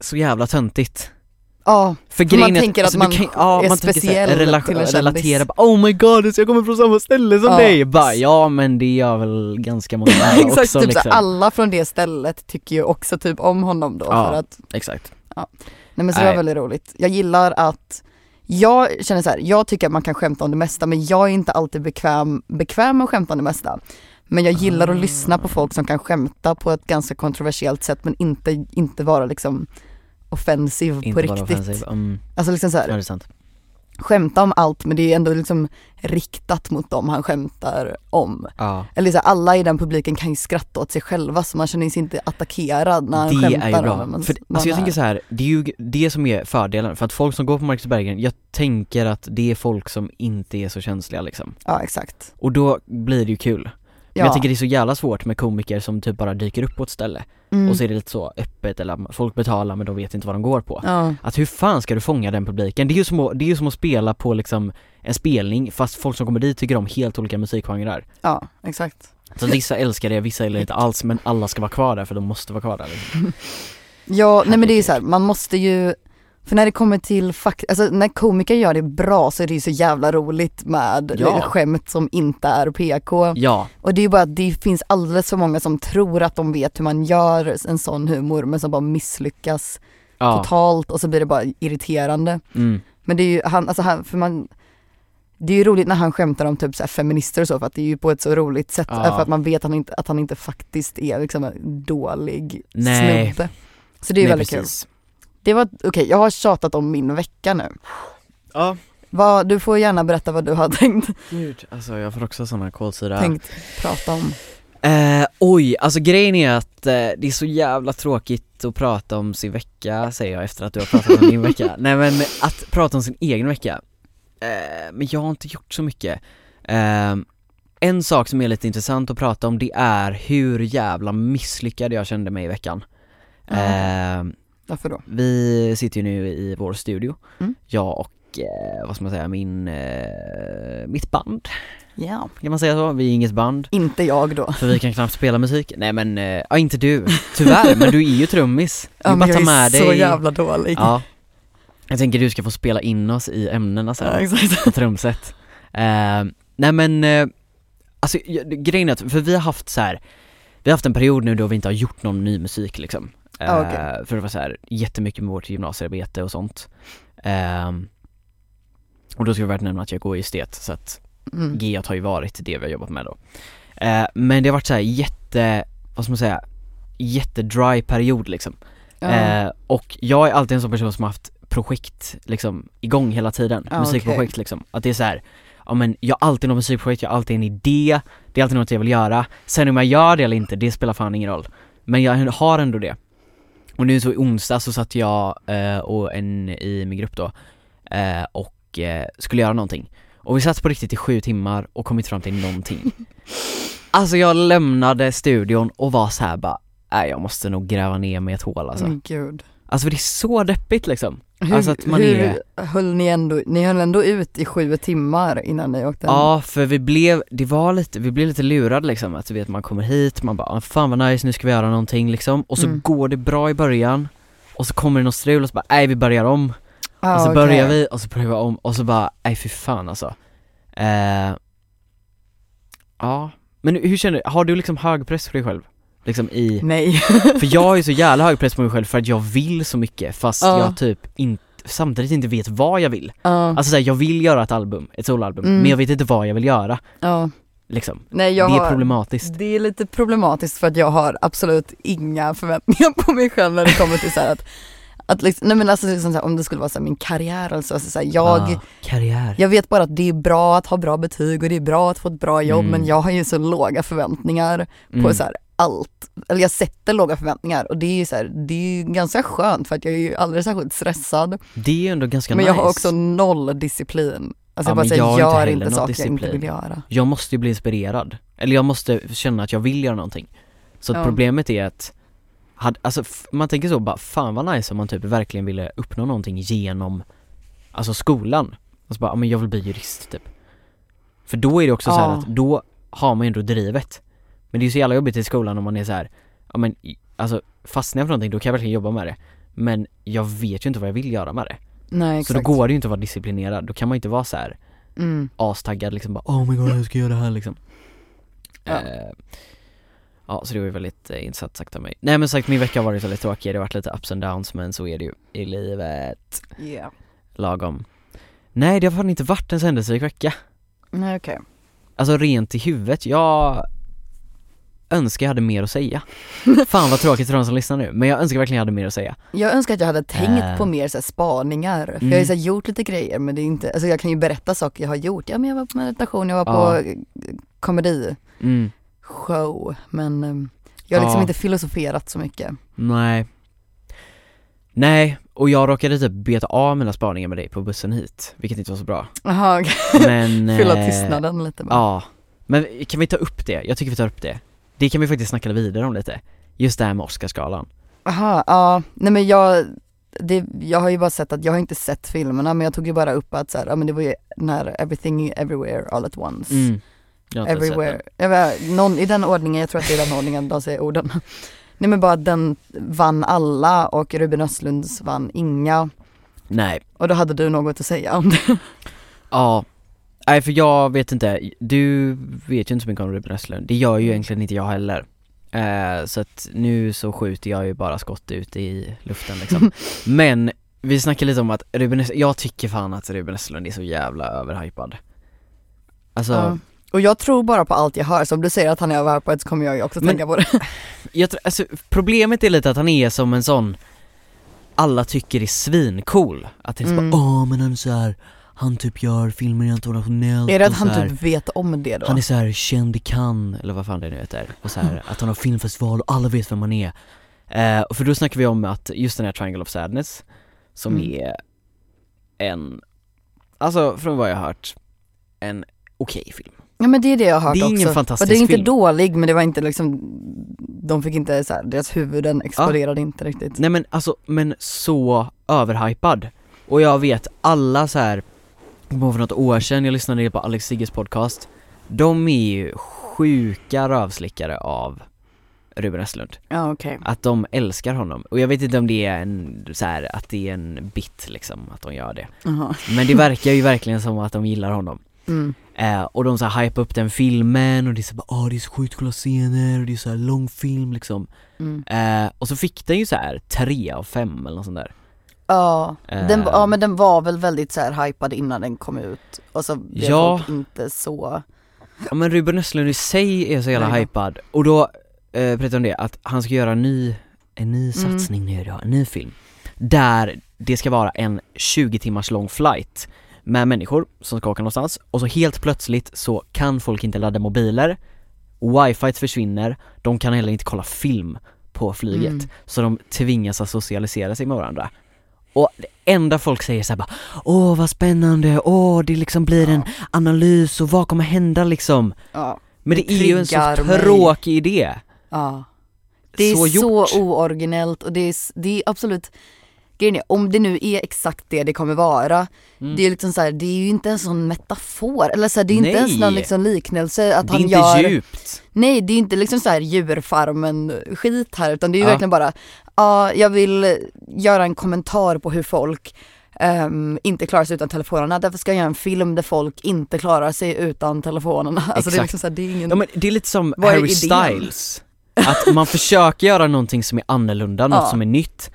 så jävla töntigt. ja, För För man är alltså, tänker att du man ja, är man tänker såhär, speciell rela- till en kändis. relatera, bara, oh my god, så jag kommer från samma ställe som Ja. dig! Bara, ja men det gör väl ganska många andra exakt. också typ liksom. såhär, alla från det stället tycker ju också typ om honom då Ja. för att Exakt. Nej men så det Nej. var väldigt roligt. Jag gillar att, jag känner så här, jag tycker att man kan skämta om det mesta men jag är inte alltid bekväm, bekväm med att skämta om det mesta. Men jag gillar att lyssna på folk som kan skämta på ett ganska kontroversiellt sätt men inte, inte vara liksom offensiv på Inte bara riktigt. offensiv. Mm, Alltså liksom så ja, det här, är sant. skämta om allt men det är ändå liksom riktat mot dem han skämtar om. Ja. Eller så här, alla i den publiken kan ju skratta åt sig själva så man känner sig inte attackerad när han det skämtar är ju om bra. vem För, man alltså jag är. tänker så här, det är ju det som är fördelen, för att folk som går på Marcus Berggren, jag tänker att det är folk som inte är så känsliga liksom. Ja exakt. Och då blir det ju kul. Men jag Ja. tycker det är så jävla svårt med komiker som typ bara dyker upp på ett ställe Mm. och så är det lite så öppet eller att folk betalar men de vet inte vad de går på. Mm. ja. Att hur fan ska du fånga den publiken? Det är ju som att, det är ju som att spela på liksom en spelning fast folk som kommer dit tycker om helt olika musikgenrer. ja exakt. Så vissa älskar det, vissa gillar det inte alls men alla ska vara kvar där för de måste vara kvar där. Liksom. Ja, nej men det är ju så här, man måste ju För när det kommer till fakt alltså när komiker gör det bra så är det ju så jävla roligt med Ja. skämt som inte är PK. Ja, Och det är ju bara att det finns alldeles för många som tror att de vet hur man gör en sån humor men som bara misslyckas ja. totalt och så blir det bara irriterande. Mm. Men det är ju han, alltså han, för man det är ju roligt när han skämtar om typ så här feminister och så för att det är ju på ett så roligt sätt eh, Ja. för att man vet att han inte, att han inte faktiskt är liksom en dålig Nej. snubbe. Så det är ju Nej, väldigt kul. precis. Det var, okej jag har tjatat om min vecka nu. Ja, Vad, du får gärna berätta vad du har tänkt, gud. Alltså jag får också sådana kolsyra. tänkt prata om. Eh, oj, alltså grejen är att eh, det är så jävla tråkigt att prata om sin vecka säger jag efter att du har pratat om din vecka. Nej men att prata om sin egen vecka. Eh, men jag har inte gjort så mycket. Eh, en sak som är lite intressant att prata om det är hur jävla misslyckad jag kände mig i veckan. Eh, Varför då? vi sitter ju nu i vår studio, Mm. jag och eh, vad ska man säga, min, eh, mitt band, Ja. kan man säga så? Vi är inget band. Inte jag då. För vi kan knappt spela musik. Nej men, eh, ja inte du. Tyvärr, men du är ju trummis. Du bara Ja, men ta jag är med så dig. jävla dålig. Ja. Jag tänker du ska få spela in oss i ämnena Ja, sen, exakt. på trumset. Eh, nej men, eh, alltså jag- grejen är att, för vi har haft så här. vi har haft en period nu då vi inte har gjort någon ny musik liksom. Eh, Ja, okej. För det var så här jättemycket med vårt gymnasiearbete och sånt. Ehm, och då ska jag värt nämna att jag går i estet, så att Mm. GEAT har ju varit det vi har jobbat med då. Eh, men det har varit så här jätte, vad ska man säga, jättedry period liksom. Ja. Eh, och jag är alltid en sån person som har haft projekt liksom igång hela tiden, Ja, musikprojekt liksom. Att det är så här, ja men jag har alltid något musikprojekt, jag har alltid en idé, det är alltid något jag vill göra. Sen om jag gör det eller inte, det spelar fan ingen roll. Men jag har ändå det. Och nu så i onsdag så satt jag eh, och en i min grupp då eh, och eh, skulle göra någonting. Och vi satt på riktigt i sju timmar och kom inte fram till någonting. Alltså jag lämnade studion och var så här bara, nej jag måste nog gräva ner mig i ett hål alltså. Men gud. Alltså för det är så deppigt liksom. Hur, Alltså att man hur höll ni ändå, ni höll ändå ut i sju timmar innan ni åkte hem? Ja för vi blev, det var lite, vi blev lite lurade liksom att du vet man kommer hit, man bara "Ah, fan vad nice nu ska vi göra någonting liksom och så Mm. går det bra i början och så kommer det något strul och så bara nej vi börjar om Ah, och så okej. Alltså, börjar vi och så börjar vi om och så bara nej fy fan alltså. Eh, ja, men hur känner du, har du liksom hög press på dig själv? Liksom i, Nej. för jag har ju så jävla hög press på mig själv för att jag vill så mycket fast Ja. jag typ inte, samtidigt inte vet vad jag vill. Ja. Alltså såhär, jag vill göra ett album, ett soloalbum, Mm. men jag vet inte vad jag vill göra Ja. liksom. Nej jag det är har, problematiskt. Det är lite problematiskt för att jag har absolut inga förväntningar på mig själv när det kommer till så här att, att liksom, nej men alltså liksom så här, om det skulle vara så här min karriär alltså, alltså så här, jag, Ah, karriär. jag vet bara att det är bra att ha bra betyg och det är bra att få ett bra jobb Mm. men jag har ju så låga förväntningar på Mm. så här allt, eller jag sätter låga förväntningar och det är ju så här, det är ju ganska skönt för att jag är ju aldrig särskilt stressad Det är ju ändå ganska men nice. jag har också noll disciplin. Alltså Ja, jag bara men säger, jag har jag inte gör heller inte någon saker jag disciplin. inte vill göra. Jag måste ju bli inspirerad. Eller jag måste känna att jag vill göra någonting. Så att Ja. problemet är att, had, alltså f- man tänker så bara, fan vad nice om man typ verkligen ville uppnå någonting genom, alltså skolan. Alltså bara, ja, men jag vill bli jurist typ. För då är det också så här Ja. att, då har man ju ändå drivet. Men det är ju så jävla jobbigt i skolan om man är så här, ja men i- alltså fastnar jag för någonting då kan jag verkligen jobba med det. Men jag vet ju inte vad jag vill göra med det. Nej exakt. Så då går det ju inte att vara disciplinerad, då kan man ju inte vara så här mm. astaggad liksom bara oh my god jag ska göra det här liksom Ja. Ja, ja så det var ju väldigt eh, intressant sagt av mig Nej men sagt min vecka har varit väldigt tråkig, det har varit lite ups and downs men så är det ju i livet yeah. lagom Nej det har fan inte varit en så händelserik vecka Nej okej. Alltså rent i huvudet, jag önskar jag hade mer att säga Fan vad tråkigt för de som lyssnar nu, men jag önskar verkligen jag hade mer att säga Jag önskar att jag hade tänkt Eh. på mer så här, spaningar. För Mm. jag har ju så här, gjort lite grejer men det är inte, alltså jag kan ju berätta saker jag har gjort. Ja men jag var på meditation, jag var Ja. på eh, komedishow. mm. Men eh, jag har liksom Ja. inte filosoferat så mycket. Nej Nej, och jag råkade typ beta av mina spaningar med dig på bussen hit, vilket inte var så bra Jaha, okej. Men fylla eh, tystnaden lite bara. Ja, men kan vi ta upp det? Jag tycker vi tar upp det. Det kan vi faktiskt snacka vidare om lite. Just det här med Oscarsgalan. Aha, ja. Nej men jag, det, jag har ju bara sett att, jag har inte sett filmerna men jag tog ju bara upp att så här, ja men det var ju när Everything Everywhere All At Once. Mm, Jag har inte sett Everywhere. Jag vet, någon, I den ordningen, jag tror att det är den ordningen de säger orden. Nej men bara att den vann alla och Ruben Östlunds vann inga. Nej, Och då hade du något att säga om det. ja. Nej för jag vet inte, du vet ju inte så mycket om Ruben Östlund. Det gör ju egentligen inte jag heller. Eh, så att nu så skjuter jag ju bara skott ut i luften liksom. Men vi snackar lite om att Ruben Östlund, jag tycker fan att Ruben Östlund är så jävla överhypad. Alltså, Ja. Och jag tror bara på allt jag hör, så om du säger att han är överhypad så kommer jag ju också Men- tänka på det. jag tror, alltså, problemet är lite att han är som en sån alla tycker är svincool. Att det är så Mm. bara, åh men han är så här, han typ gör filmer internationellt Är det att och han så här, typ vet om det då? Mm. Han är så här känd i Cannes, eller vad fan det nu heter, och så här, att han har filmfestival och alla vet vem han är. Eh, och för då snackar vi om att just den här Triangle of Sadness, som Mm. är en, alltså från vad jag har hört, en okej film. Ja men det är det jag har hört Det är också. ingen fantastisk och det är inte film. dålig men det var inte liksom, de fick inte så här, deras huvuden exploderade inte riktigt. Nej men alltså, men så överhypad. Och jag vet alla så här jag kommer ihåg för något år sedan, jag lyssnade på Alex Sigges podcast, de är ju sjuka rövslickare av Ruben Östlund. Ja okej. Att de älskar honom. Och jag vet inte om det är en, så här, att det är en bit liksom, att de gör det. Jaha. Men det verkar ju verkligen som att de gillar honom. Mm. Eh, och de så här hypar upp den filmen och det är så bara ah det är så sjukt coola scener och det är så här lång film liksom. Mm. Eh, och så fick den ju så här tre av fem eller något sånt där. Ja. Den, Eh, ja men den var väl väldigt så här hypad innan den kom ut och så blev Ja. folk inte så, Ja men Ruben Östlund i sig är så jävla Nej, ja. hypad. Och då eh, pratade jag om det, att han ska göra en ny, en ny Mm. satsning nu idag, en ny film. Där det ska vara en 20 timmars lång flight med människor som ska åka någonstans och så helt plötsligt så kan folk inte ladda mobiler, wifi försvinner, de kan heller inte kolla film på flyget. Mm. Så de tvingas att socialisera sig med varandra. Och det enda folk säger såhär bara Åh vad spännande, åh det liksom blir en analys och vad kommer hända liksom? ja. Men det, Det är ju en så triggar mig. tråkig idé. ja. Det är så så, gjort. ooriginellt och det är, s- det är absolut, grejen är, om det nu är exakt det det kommer vara, Mm. det är liksom så här, det är ju inte en sån metafor, eller så här, det är inte Nej. ens någon liksom liknelse att det är han inte gör djupt. Nej det är inte liksom så här djurfarmen skit här utan det är ju Ja. verkligen bara, ja jag vill göra en kommentar på hur folk ehm, inte klarar sig utan telefonerna, därför ska jag göra en film där folk inte klarar sig utan telefonerna. Alltså det Exakt. är liksom så här, det är ingen, Ja, men det är lite som Vad är Harry idén? Styles. Att man försöker göra någonting som är annorlunda, något Ja. som är nytt.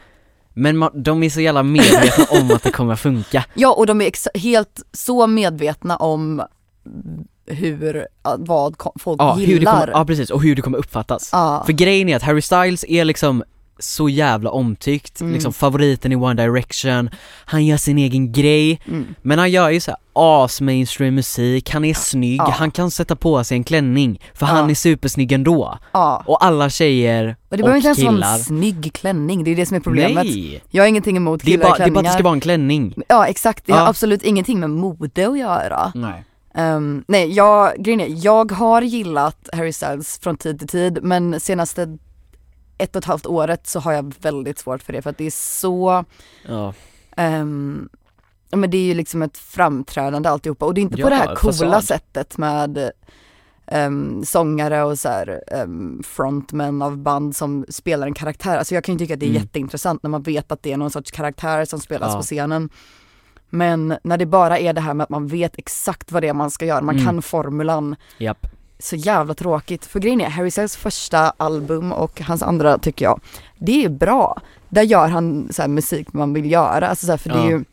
Men man, de är så jävla medvetna om att det kommer att funka. ja och de är exa- helt så medvetna om hur, ja, vad ko- folk Ja, hur det gillar. kommer, ja precis, och hur det kommer uppfattas. Ja. För grejen är att Harry Styles är liksom så jävla omtyckt, Mm. liksom favoriten i One Direction, han gör sin egen grej, Mm. men han gör ju så här as mainstream musik, han är snygg, Ja. han kan sätta på sig en klänning för Ja. han är supersnygg ändå. ja. Och alla tjejer Och det behöver och inte ens vara killar, en snygg klänning, det är det som är problemet. nej! Jag har ingenting emot Det är, killar i bara, det är bara att det klänningar. ska vara en klänning. Ja exakt, det har Ja. absolut ingenting med mode att göra. Nej. Ehm, nej, jag, grejen är, jag har gillat Harry Styles från tid till tid men senaste ett och ett halvt året så har jag väldigt svårt för det för att det är så, Ja. ehm, ja, men det är ju liksom ett framträdande alltihopa och det är inte på Ja, det här coola fasad. sättet med ehm, sångare och så här, ehm, frontmän av band som spelar en karaktär. Alltså jag kan ju tycka att det är Mm. jätteintressant när man vet att det är någon sorts karaktär som spelas Ja. på scenen. Men när det bara är det här med att man vet exakt vad det är man ska göra, man Mm. kan formulan. Japp. Så jävla tråkigt. För grejen är, Harry Styles första album och hans andra tycker jag, det är bra. Där gör han så här musik man vill göra. Alltså så här, för det är Ja. ju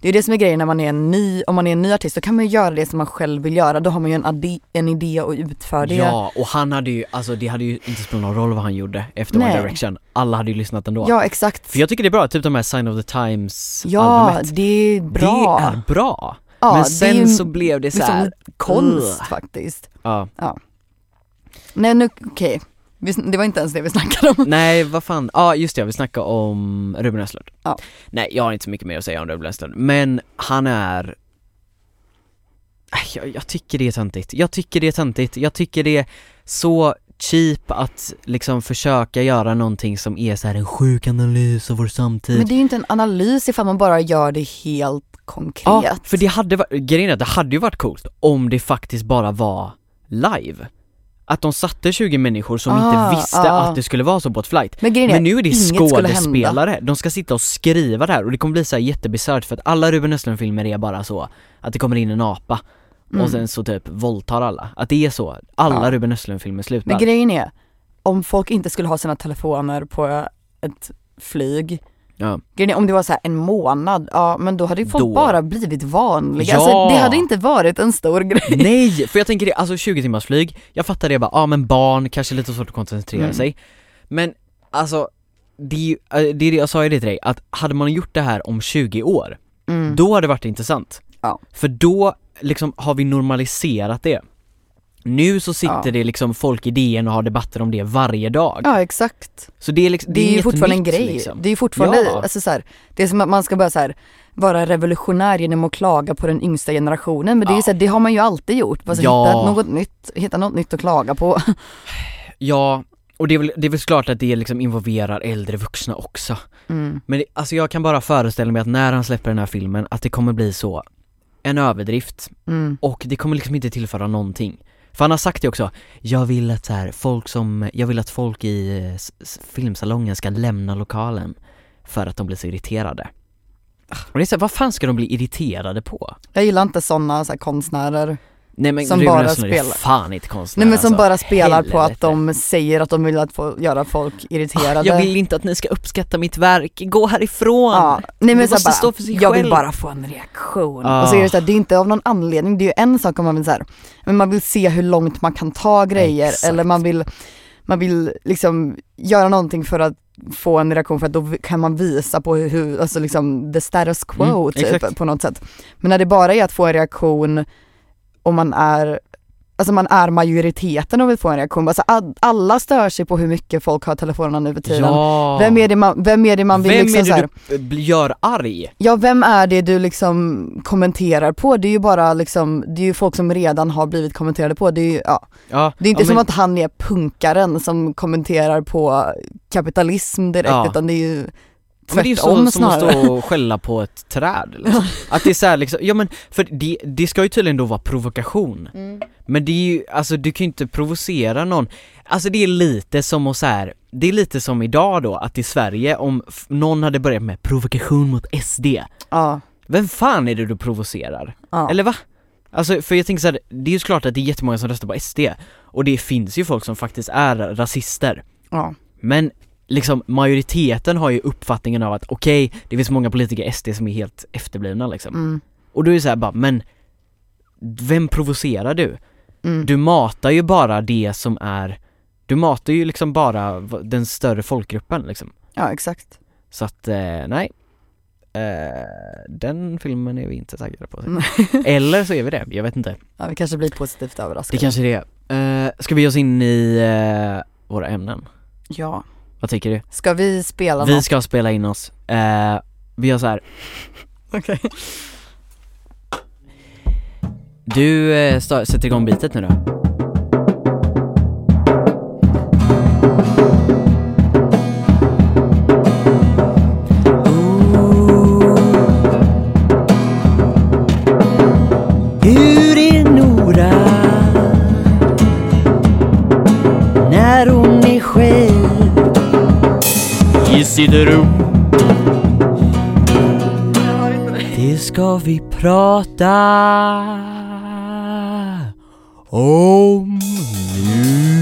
det är det som är grejen när man är en ny, om man är en ny artist, då kan man ju göra det som man själv vill göra. Då har man ju en, adi- en idé och utför det. Ja, och han hade ju, alltså det hade ju inte spelat någon roll vad han gjorde efter Nej. One Direction. Alla hade ju lyssnat ändå. ja exakt. För jag tycker det är bra, typ de här Sign of the Times ja, albumet. det är bra. Det är bra! ja, Men det är sen ju så blev det så liksom här. konst Ugh. faktiskt. Ja. Nej nu, okej. Vi sn- Det var inte ens det vi snackade om. Nej vad fan, ja just det, vi snackade om Ruben Östlund. Ja. Nej jag har inte så mycket mer att säga om Ruben Östlund, men han är Äh, jag, jag tycker det är töntigt, jag tycker det är töntigt, jag tycker det är så cheap att liksom försöka göra någonting som är så här en sjuk analys av vår samtid Men det är ju inte en analys ifall man bara gör det helt konkret. Ja, för det hade varit, grejen är att det hade ju varit coolt om det faktiskt bara var live. Att de satte 20 människor som Ah, inte visste ah. att det skulle vara så på ett flight. Men grejen är, Men nu är det inget skulle hända. skådespelare, de ska sitta och skriva det här och det kommer bli så här jättebisarrt för att alla Ruben Östlund filmer är bara så Att det kommer in en apa Mm. och sen så typ våldtar alla. Att det är så, alla Ja. Ruben Östlund filmer slutar. Men grejen är, om folk inte skulle ha sina telefoner på ett flyg, ja. grejen är, om det var så här en månad, ja men då hade ju folk Då. bara blivit vanliga. Ja. Alltså, det hade inte varit en stor grej. Nej! För jag tänker det, alltså 20 timmars flyg, jag fattar det bara, ja ah, men barn, kanske lite svårt att koncentrera Mm. sig Men alltså, det är ju- eh, det är det jag sa ju det till dig, att hade man gjort det här om 20 år, Mm. då hade det varit intressant Ja. För då liksom har vi normaliserat det Nu så sitter Ja. det liksom folk i DN och har debatter om det varje dag Ja exakt. Så det är liksom, Det är, ju inget fortfarande nytt, en grej. liksom. Det är ju fortfarande, Ja. alltså så här, det är som att man ska börja så här, vara revolutionär genom att klaga på den yngsta generationen. Men det är ju Ja. så här, det har man ju alltid gjort. Alltså, Ja. hitta, något nytt, hitta något nytt att klaga på. Ja, och det är, väl, det är väl klart att det liksom involverar äldre vuxna också Mm. Men det, alltså jag kan bara föreställa mig att när han släpper den här filmen, att det kommer bli så en överdrift Mm. och det kommer liksom inte tillföra någonting. För han har sagt det också, jag vill att så här, folk som, jag vill att folk i eh, s- s- filmsalongen ska lämna lokalen för att de blir så irriterade. Ah. Och det är så här, vad fan ska de bli irriterade på? Jag gillar inte sådana så här, konstnärer. Nej men Som Ruben bara Östlund är spelar. fan inte konstnär Nej men som alltså. bara spelar på att helvete. de säger att de vill att få göra folk irriterade. Jag vill inte att ni ska uppskatta mitt verk, gå härifrån! ja. Nej men Det så här måste bara, stå för sig jag vill själv. bara få en reaktion. Ah. Och så är det så här, det är inte av någon anledning, det är ju en sak om man vill så här, men man vill se hur långt man kan ta grejer Exakt. eller man vill, man vill liksom göra någonting för att få en reaktion för att då kan man visa på hur, hur alltså liksom the status quo Mm, typ, exakt. på något sätt. Men när det bara är att få en reaktion och man är Alltså man är majoriteten och vill få en reaktion. Alltså ad- alla stör sig på hur mycket folk har telefonerna nu för tiden. Ja! Vem, är det man, vem är det man vill Vem liksom är så här, det du b- gör arg? Ja vem är det du liksom kommenterar på? Det är ju bara liksom, det är ju folk som redan har blivit kommenterade på. Det är ju, ja. Ja, Det är inte ja, som men- att han är punkaren som kommenterar på kapitalism direkt Ja. utan det är ju Men det är ju tvärtom så, som att snarare. stå och skälla på ett träd liksom. Att det är såhär liksom, ja men för det, det ska ju tydligen då vara provokation Mm. Men det är ju, alltså du kan ju inte provocera någon Alltså det är lite som att så här. det är lite som idag då att i Sverige om f- någon hade börjat med provokation mot SD Ja, Vem fan är det du provocerar? ja. Eller va? Alltså för jag tänker såhär, det är ju klart att det är jättemånga som röstar på SD Och det finns ju folk som faktiskt är rasister ja. men liksom majoriteten har ju uppfattningen av att okej, det finns många politiker i SD som är helt efterblivna liksom. Mm. Och då är det så här bara, men vem provocerar du? Mm. Du matar ju bara det som är, du matar ju liksom bara v- den större folkgruppen liksom. ja exakt. Så att, eh, nej. Eh, den filmen är vi inte taggade på. Nej. Eller så är vi det, jag vet inte. Mm. Ja, vi kanske blir positivt överraskade. Eh. Det kanske är det. Eh, ska vi ge oss in i eh, våra ämnen? Ja. Vad tycker du? Ska vi spela Vi något? ska spela in oss, eh, vi gör så här. Okej. Du eh, sta- sätter igång bitet nu då? Hur är Nora när hon är själv i sitt rum? Det ska vi prata om nu.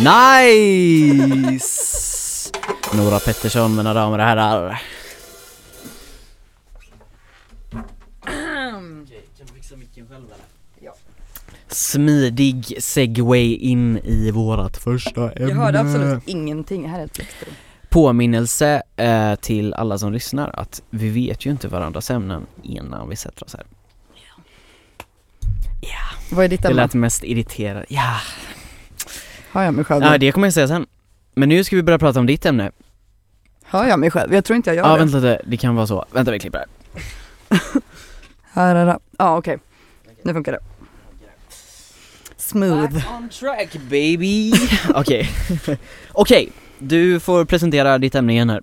Nice! Nora Pettersson mina damer och herrar. Smidig segway in i vårat första ämne. Jag hörde absolut ingenting, här är ett blixtrum. Påminnelse eh, till alla som lyssnar att vi vet ju inte varandras ämnen innan vi sätter oss här. Vad är ditt Det ämne? lät mest irriterande. Ja, Hör jag mig själv? ja det kommer jag säga sen. Men nu ska vi börja prata om ditt ämne. Hör jag mig själv? Jag tror inte jag gör Ja, det. vänta lite, det kan vara så. Vänta vi klipper här. Här är det. Ja okej, nu funkar det. Smooth. Back on track baby! Okej. Okej, du får presentera ditt ämne igen här.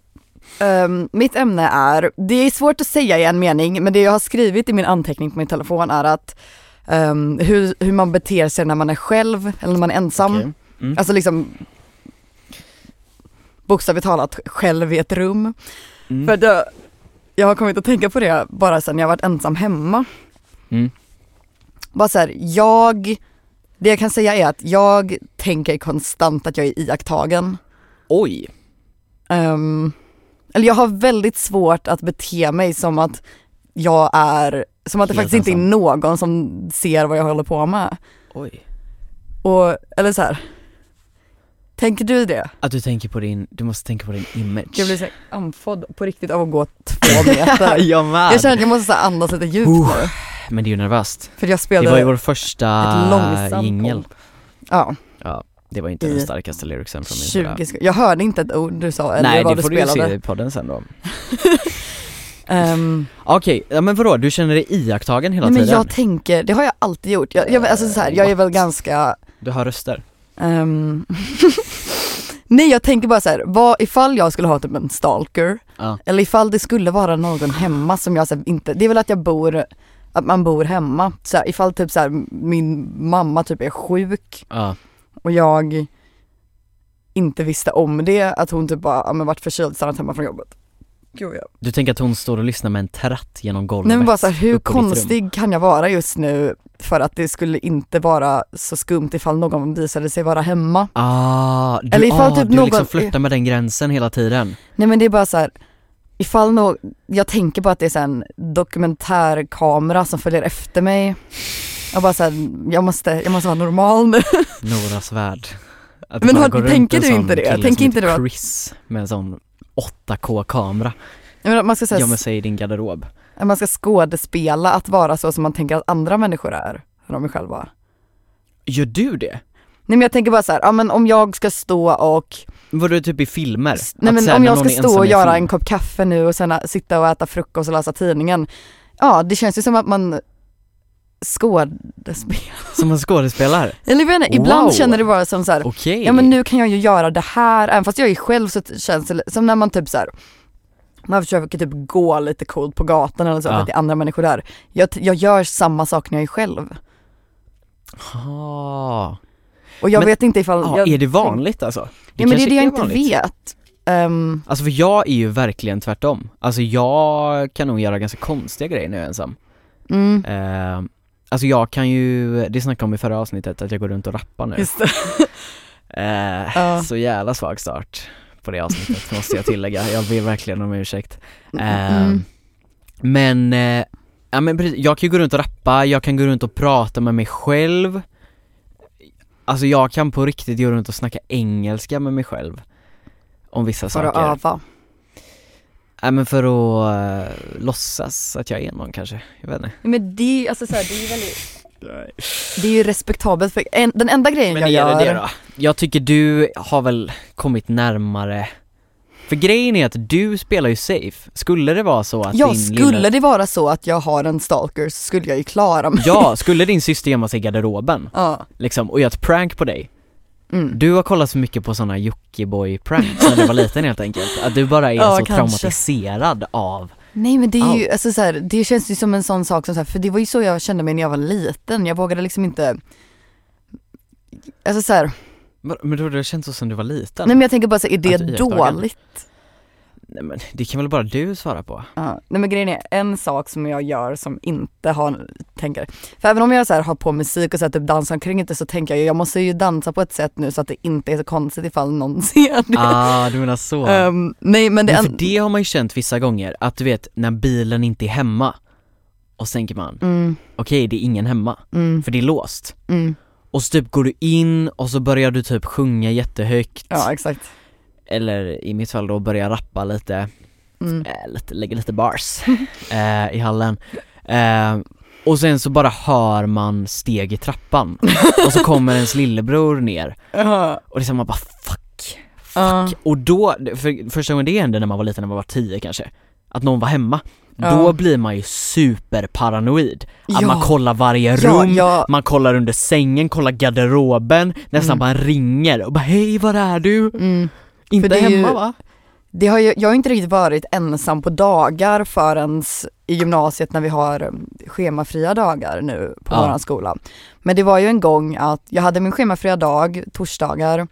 Ehm, mitt ämne är, det är svårt att säga i en mening men det jag har skrivit i min anteckning på min telefon är att Ehm, hur, hur man beter sig när man är själv eller när man är ensam. Okej. Mm. Alltså liksom bokstavligt talat själv i ett rum. Mm. För att jag, jag har kommit att tänka på det bara sen jag varit ensam hemma. Mm. Bara så här, jag, det jag kan säga är att jag tänker konstant att jag är iakttagen. Oj! Ehm, eller jag har väldigt svårt att bete mig som att jag är, som att det Helt faktiskt inte är ensam. någon som ser vad jag håller på med. Oj. Och, eller så här. Tänker du det? Att du tänker på din, du måste tänka på din image. Jag blir så här andfådd på riktigt av att gå två meter. jag med! Jag känner att jag måste så här andas lite djupt Uh. nu. Men det är ju nervöst. För jag Det var spelade ju vår första ett långsamt jingel. pomp. Ja, Det var ju inte I den starkaste lyricsen från min 20 sida. sek- Jag hörde inte ett ord du sa eller Nej, vad det du får du ju spelade. se i podden sen då. Ehm, Okej, ja, men vadå, du känner dig iakttagen hela nej men tiden? jag tänker, det har jag alltid gjort. Jag, jag, alltså så här, jag är väl ganska Du har röster? Ehm, Nej jag tänker bara så här, vad, ifall jag skulle ha typ en stalker, Ja. eller ifall det skulle vara någon hemma som jag så här, inte, det är väl att jag bor, att man bor hemma. Så här, ifall typ så här, min mamma typ är sjuk Ja. och jag inte visste om det, att hon typ bara, ja men vart förkyld, stannat hemma från jobbet. Gud, ja. Du tänker att hon står och lyssnar med en tratt genom golvet? Nej men bara så här, uppe i hur ditt rum. konstig kan jag vara just nu för att det skulle inte vara så skumt ifall någon visade sig vara hemma. Ah, du, Eller ifall ah, typ du någon- liksom flörtar med den gränsen hela tiden? Nej men det är bara så här, ifall någon, jag tänker på att det är så här en dokumentärkamera som följer efter mig. Jag bara så här, jag måste, jag måste vara normal nu. Noras värld. Att Men bara har- gå runt tänker en du sån inte det? kille Tänker som inte heter du att- Chris med en sån 8K-kamera Jag menar, man, ska så här, gömmer sig i din garderob. man ska skådespela att vara så som man tänker att andra människor är, när de är själva. Gör du det? Nej men jag tänker bara så här, ja men om jag ska stå och, Var du typ i filmer? nej Att men såhär, om när jag någon ska är stå ensam och i göra film. en kopp kaffe nu och sen ä- sitta och äta frukost och läsa tidningen. Ja det känns ju som att man skådespelar. Som en skådespelare? Eller jag vet inte, ibland Wow. känner det bara som så här, Okej. Ja men nu kan jag ju göra det här, även fast jag är själv så känns det som när man typ så här. Man försöker typ gå lite coolt på gatan eller så för Ja. att det är andra människor där. Jag, t- jag gör samma sak när jag är själv. Ah. Och jag Men- vet inte ifall... Ja, jag, är det vanligt alltså? Det nej men det kanske är det jag inte vanligt. vet. Ehm, Alltså för jag är ju verkligen tvärtom. Alltså jag kan nog göra ganska konstiga grejer när jag är ensam. mm, Eh, alltså jag kan ju, det snackade jag om i förra avsnittet, att jag går runt och rappar nu. just det. Eh, Ja. Så jävla svag start på det avsnittet måste jag tillägga, jag ber verkligen om ursäkt. Eh, Mm. Men, eh, ja men precis, jag kan ju gå runt och rappa, jag kan gå runt och prata med mig själv. Alltså jag kan på riktigt gå runt och snacka engelska med mig själv. Om vissa För att saker. öva. Nej men för att eh, låtsas att jag är någon kanske, jag vet inte. Nej, men det är ju alltså så här, det är ju väldigt... Det är ju respektabelt för en, den enda grejen Men jag är gör... det det då? Jag tycker du har väl kommit närmare för grejen är att du spelar ju safe, skulle det vara så att Ja, din skulle lilla... det vara så att jag har en stalker så skulle jag ju klara mig. Ja, skulle din syster gömma sig i garderoben Ja. liksom och göra ett prank på dig? Mm. Du har kollat så mycket på sådana Jockiboi-pranks när du var liten helt enkelt, att du bara är Ja, så kanske. traumatiserad av Nej men det är ju, Allt. alltså så här, det känns ju som en sån sak som så här, för det var ju så jag kände mig när jag var liten, jag vågade liksom inte Alltså så här, Men men då har det känts så sen du var liten? nej men jag tänker bara så här, är det Att du iakttar den. dåligt? Nej, men det kan väl bara du svara på? Ja. Nej men grejen är, en sak som jag gör som inte har, tänker, för även om jag så här, har på musik och så här, typ dansar omkring inte så tänker jag ju, jag måste ju dansa på ett sätt nu så att det inte är så konstigt ifall någon ser det. Ah, du menar så? Ehm, nej men det, Men är för en, det har man ju känt vissa gånger, att du vet när bilen inte är hemma och så tänker man, mm, okej det är ingen hemma, mm, för det är låst. mm. Och så typ går du in och så börjar du typ sjunga jättehögt, ja exakt. eller i mitt fall då börja rappa lite, Mm. eh, lite lägger lite bars eh, i hallen. Eh, och sen så bara hör man steg i trappan och så kommer ens lillebror ner Ja. och det är så här, man bara fuck, fuck. Ja. Och då, för första gången det hände när man var liten, när man var 10 kanske, att någon var hemma, Ja. då blir man ju superparanoid. Att Ja. man kollar varje ja, rum, ja, man kollar under sängen, kollar garderoben, nästan Mm. bara ringer och bara hej var är du? mm. Inte det är ju- hemma va? det har ju, jag har inte riktigt varit ensam på dagar förrän i gymnasiet när vi har um, schemafria dagar nu på Ja. våran skola. Men det var ju en gång att jag hade min schemafria dag, torsdagar.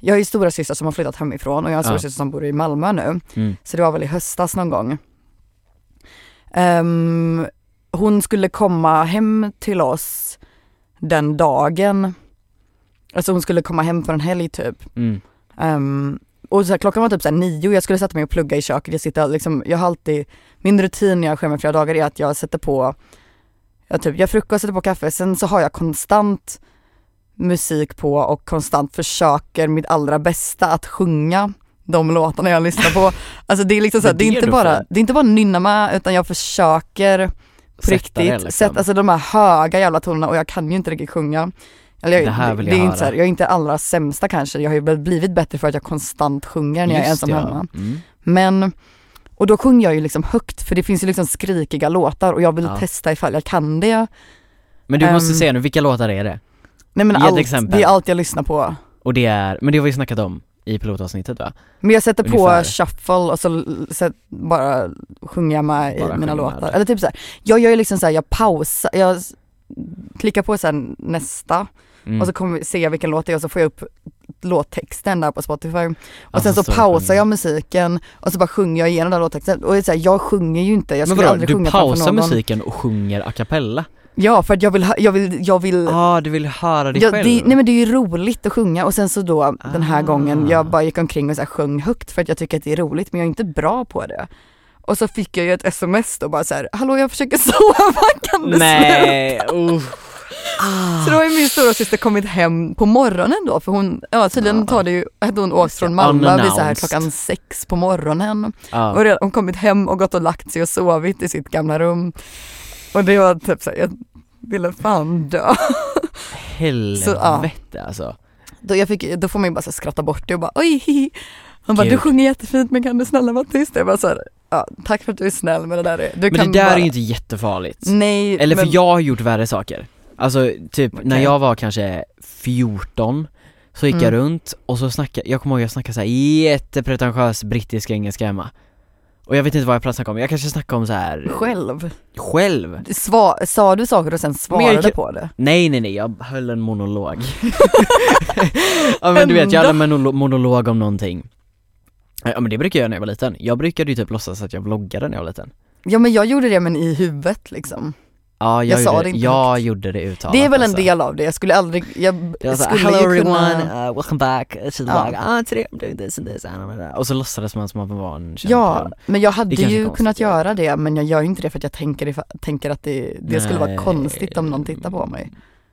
Jag har ju stora syster som har flyttat hemifrån och jag har en Ja. storasyster som bor i Malmö nu. Mm. Så det var väl i höstas någon gång. Ehm, hon skulle komma hem till oss den dagen. Alltså hon skulle komma hem för en helg typ. Mm. Ehm, och så här, klockan var typ så här nio, jag skulle sätta mig och plugga i köket. Jag sitter liksom, jag har alltid, min rutin när jag skämmer flera dagar är att jag sätter på, jag typ, jag frukost, sätter på kaffe, sen så har jag konstant musik på och konstant försöker mitt allra bästa att sjunga de låtarna jag lyssnar på. Alltså det är liksom så här, Det är det, är det inte du bara, får. det är inte bara nynna med utan jag försöker på Sätta riktigt, det, liksom. sätt, alltså de här höga jävla tonerna och jag kan ju inte riktigt sjunga. Eller jag, Det här vill det, jag är höra. inte så här, jag är inte allra sämsta kanske, jag har ju blivit bättre för att jag konstant sjunger när jag är Just ensam ja. hemma. Mm. Men, och då sjunger jag ju liksom högt för det finns ju liksom skrikiga låtar och jag vill Ja. testa ifall jag kan det. Men du måste Ehm. säga nu, vilka låtar är det? Nej men Ge ett allt, exempel. det är allt jag lyssnar på. Och det är, men det har vi snackat om i pilotavsnittet va? Men jag sätter Ungefär. på shuffle och så l- sätt, bara sjunger jag med Bara i mina sjunger. låtar. Eller typ så här. jag gör ju liksom så här, jag pausar, jag s- klickar på sen nästa Mm. och så kommer, ser jag vilken låt det är och så får jag upp låttexten där på Spotify. Och Ja, sen så, står det pausar sjunger. jag musiken och så bara sjunger jag igenom den här låttexten. Och det är så här, jag sjunger ju inte, jag Men skulle vadå, aldrig du sjunga framför pausar någon. musiken och sjunger a cappella? Ja, för att jag vill, ha- jag vill, jag vill Ja, ah, du vill höra dig Ja, själv? det, nej men det är ju roligt att sjunga och sen så då den här Ah. gången jag bara gick omkring och så här sjöng högt för att jag tycker att det är roligt men jag är inte bra på det. Och så fick jag ju ett sms då bara så här, hallå jag försöker sova, kan du snälla? Nej, usch. Så då har ju min stora syster kommit hem på morgonen då för hon, ja tydligen Ah. tar det ju, hade hon åkt från det. Malmö vid så här Unannounced. klockan sex på morgonen. Ja. Och redan, hon kommit hem och gått och lagt sig och sovit i sitt gamla rum. Och det var typ så här, jag ville fan dö. Helvete Så, ja. alltså. Då, jag fick, då får man ju bara så här skratta bort det och bara oj hihi. Han bara Gud. du sjunger jättefint men kan du snälla vara tyst? Jag bara så här, ja, tack för att du är snäll men det där är, du Men kan det där bara, är ju inte jättefarligt. Nej, Eller för men, jag har gjort värre saker. Alltså typ när Okej. jag var kanske 14 så gick jag Mm. runt och så snackade, jag kommer ihåg jag snackade så här jättepretentiös brittisk engelska hemma. Och jag vet inte vad jag snackade om, jag kanske snackade om så här själv. själv. Sva, sa du saker och sen Men jag svarade gick- på det? Nej nej nej, jag höll en monolog. ja men du vet, jag höll en monolo- monolog om någonting. Ja men det brukar jag göra när jag var liten. Jag brukade ju typ låtsas att jag vloggade när jag var liten. Ja men jag gjorde det men i huvudet liksom. Ja jag, Jag sa gjorde, det inte jag gjorde det uttalat det är väl en alltså. del av det, jag skulle aldrig, jag Jag sa skulle hello ju everyone, kunna uh, welcome back to the Ja. vlog, ah today I'm doing this and this and I'm that." Och så låtsades man som att man var en känd Ja, person. men jag Det hade är kanske ju konstigt, kunnat jag vet göra det men jag gör ju inte det för att jag tänker, if- tänker att det, det skulle vara Nej. konstigt om någon tittar på mig.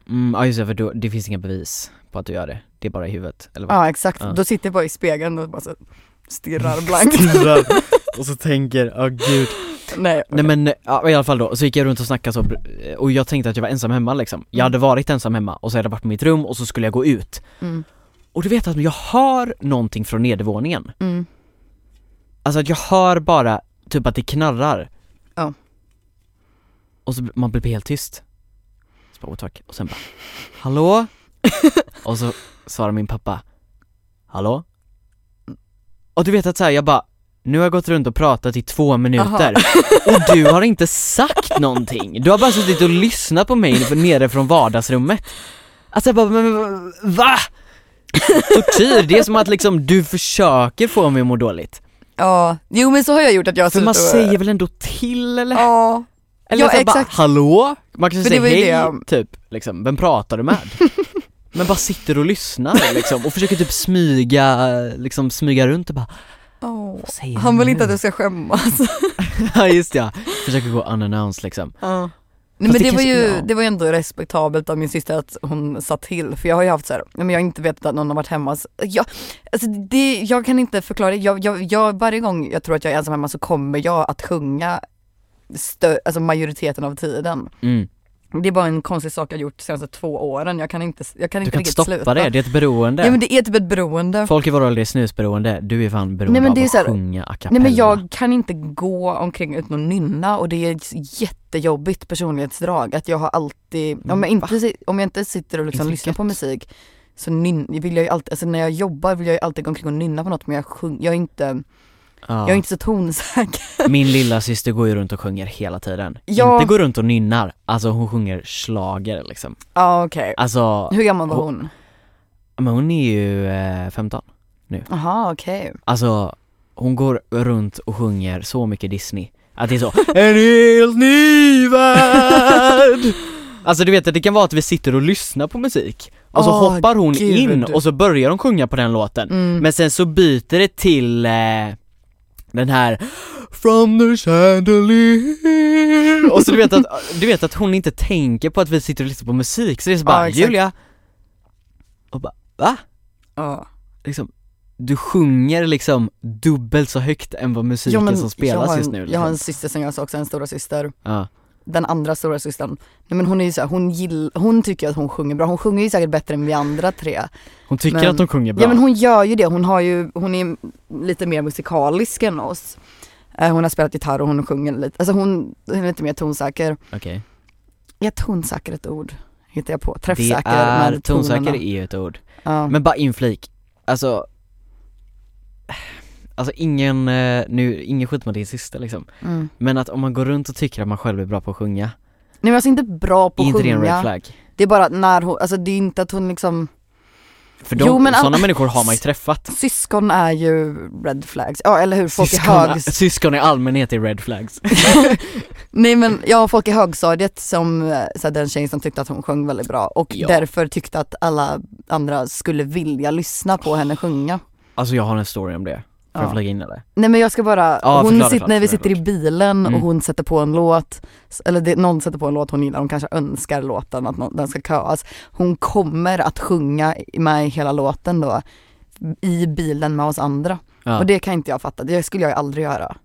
Mm, ja just det, för då, det finns inga bevis på att du gör det, det är bara i huvudet, eller vad? Ja exakt, Ja. då sitter jag bara i spegeln och bara så stirrar blankt. och så tänker, åh gud Nej, Nej men, ja, i alla fall då, så gick jag runt och snackade så, eh, och jag tänkte att jag var ensam hemma liksom Jag hade varit ensam hemma, och så hade jag varit på mitt rum, och så skulle jag gå ut Mm. Och du vet att jag hör någonting från nedervåningen Mm. Alltså att jag hör bara typ att det knarrar Ja. Och så blir- man blir helt tyst Så bara, oh, tack. Och sen bara, hallå? och så svarar min pappa, hallå? Och du vet att så här, jag bara, nu har jag gått runt och pratat i två minuter och du har inte sagt någonting! Du har bara suttit och lyssnat på mig nere från vardagsrummet Alltså jag bara, men men, va? Tortyr, det är som att liksom du försöker få mig att må dåligt Ja, jo men så har jag gjort att jag har för suttit man och- säger väl ändå till eller? Ja, eller ja, så här exakt. bara hallå? Man kanske För det säger var ju hej, det- typ, liksom, vem pratar du med? Men bara sitter och lyssnar liksom, och försöker typ smyga, liksom smyga runt och bara Åh. "Vad säger Han du vill nu?" inte att du ska skämmas. Ja just det, ja. försöker gå unannounced liksom Ja. Fast Nej, men det det, var kanske- ju, ja. det var ju ändå respektabelt av min syster att hon sa till för jag har ju haft så här, nej, men jag har inte vetat att någon har varit hemma. Så Jag, alltså det, jag kan inte förklara, det. jag, jag, jag, varje gång jag tror att jag är ensam hemma så kommer jag att sjunga stö, alltså majoriteten av tiden. mm. Det är bara en konstig sak jag gjort de senaste två åren, jag kan inte, jag kan Du inte kan inte riktigt stoppa sluta. det, det är ett beroende Ja men det är typ ett beroende. Folk i vår ålder är snusberoende, du är fan beroende Nej, men det är av så här- att sjunga a cappella Nej men jag kan inte gå omkring utan att nynna och det är ett jättejobbigt personlighetsdrag att jag har alltid, Mm, om jag inte, si- om jag inte sitter och liksom Inte lyssnar på gött. musik så nyn, vill jag ju alltid, alltså när jag jobbar vill jag ju alltid gå omkring och nynna på något men jag sjung, jag är inte Jag är inte så tonsäker. Min lilla syster går ju runt och sjunger hela tiden. Ja. Inte går runt och nynnar, alltså hon sjunger schlager liksom. Ja okej. Alltså, Hur gammal var hon? men hon är ju eh, 15. Jaha okej. Alltså, hon går runt och sjunger så mycket Disney. Att det är så, en helt ny värld! Alltså du vet att det kan vara att vi sitter och lyssnar på musik, och så Åh, hoppar hon gud. in och så börjar hon sjunga på den låten. Mm. Men sen så byter det till eh, den här From the chandelier Och så du vet, att, du vet att hon inte tänker på att vi sitter och lyssnar på musik så det är så Ja, bara exakt. Julia Och bara va? Ja. Liksom, du sjunger liksom dubbelt så högt än vad musiken Jo, men som jag spelas har en, just nu Jag har liksom. en syster som jag sa också, en stora syster. ja. Den andra stora systern. Nej men hon är ju så här, hon gill, hon tycker att hon sjunger bra. Hon sjunger ju säkert bättre än vi andra tre. Hon tycker Men- att hon sjunger bra Ja men hon gör ju det, hon har ju, hon är lite mer musikalisk än oss. Eh, Hon har spelat gitarr och hon sjunger lite, alltså hon hon är lite mer tonsäker. Okej. Är tonsäker ett ord? Hittar jag på, Det träffsäker är, med tonerna. tonsäker är ju ett ord Ja. Men bara inflik, alltså Alltså ingen, eh, nu, ingen skit med din syster liksom Mm. Men att om man går runt och tycker att man själv är bra på att sjunga, Nej men alltså inte bra på är att inte det en red sjunga. flag? Det är bara att när hon, alltså det är inte att hon liksom, För de, Jo, men all- sådana människor har man ju träffat syskon är ju red flags. Ja eller hur, folk syskon, är hög... syskon i allmänhet är red flags Nej men ja, folk i högstadiet som, eh, så här, den tjejen som tyckte att hon sjöng väldigt bra och Ja. därför tyckte att alla andra skulle vilja lyssna på henne sjunga. Alltså jag har en story om det, får jag Ja. flygga in eller? Nej men jag ska bara, Ja, hon förklara, sit, förklara, när vi förklara. sitter i bilen Mm. och hon sätter på en låt, s- eller det, någon sätter på en låt hon gillar, hon kanske önskar låten att nå- den ska köas. Hon kommer att sjunga i- med hela låten då i bilen med oss andra. Ja. Och Det... det kan inte jag fatta, det skulle jag ju aldrig göra.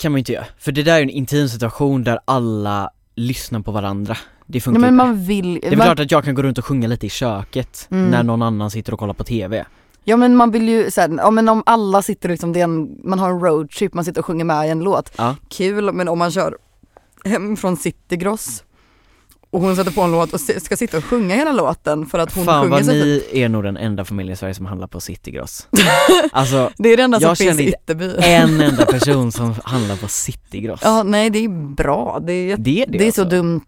kan man ju inte göra, för det där är ju en intim situation där alla lyssnar på varandra Det Nej funkar men inte man vill, det är väl man, klart att jag kan gå runt och sjunga lite i köket Mm. när någon annan sitter och kollar på TV ja men man vill ju såhär, ja men om alla sitter liksom, det är en, man har en roadtrip, man sitter och sjunger med i en låt. Ja, kul men om man kör hem från Citygross och hon sätter på en låt och si- ska sitta och sjunga hela låten för att hon fan sjunger vad så fint. ni är nog den enda familjen i Sverige som handlar på Citygross Alltså Det är det enda som Jag finns känner i inte Ytterby. en enda person som handlar på Citygross Ja, nej det är bra. Det är, jätte- Det är det, det är alltså. så dumt.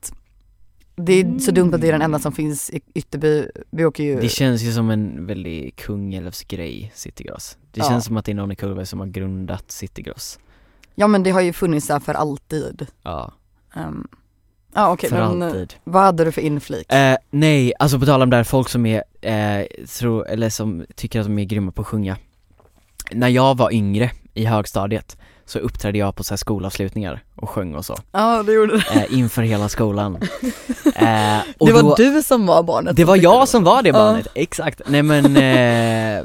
Det är så dumt att det är den enda som finns i Ytterby. Vi åker ju, Det känns ju som en väldigt Kungälvsgrej, Citygross. Det Ja. känns som att det är någon i Kungälv som har grundat Citygross. ja men det har ju funnits där för alltid. Ja, Ehm, ja okej, för men eh, alltid. vad hade du för inflik? Eh, nej, alltså på tal om det här, folk som är, eh, tror, eller som tycker att de är grymma på att sjunga. När jag var yngre, i högstadiet, så uppträdde jag på så här skolavslutningar och sjöng och så, Ja det gjorde det. eh, inför hela skolan. Eh, och Det var då- du som var barnet. Det var tyckte jag som var det Ja. barnet, exakt. Nej men, eh,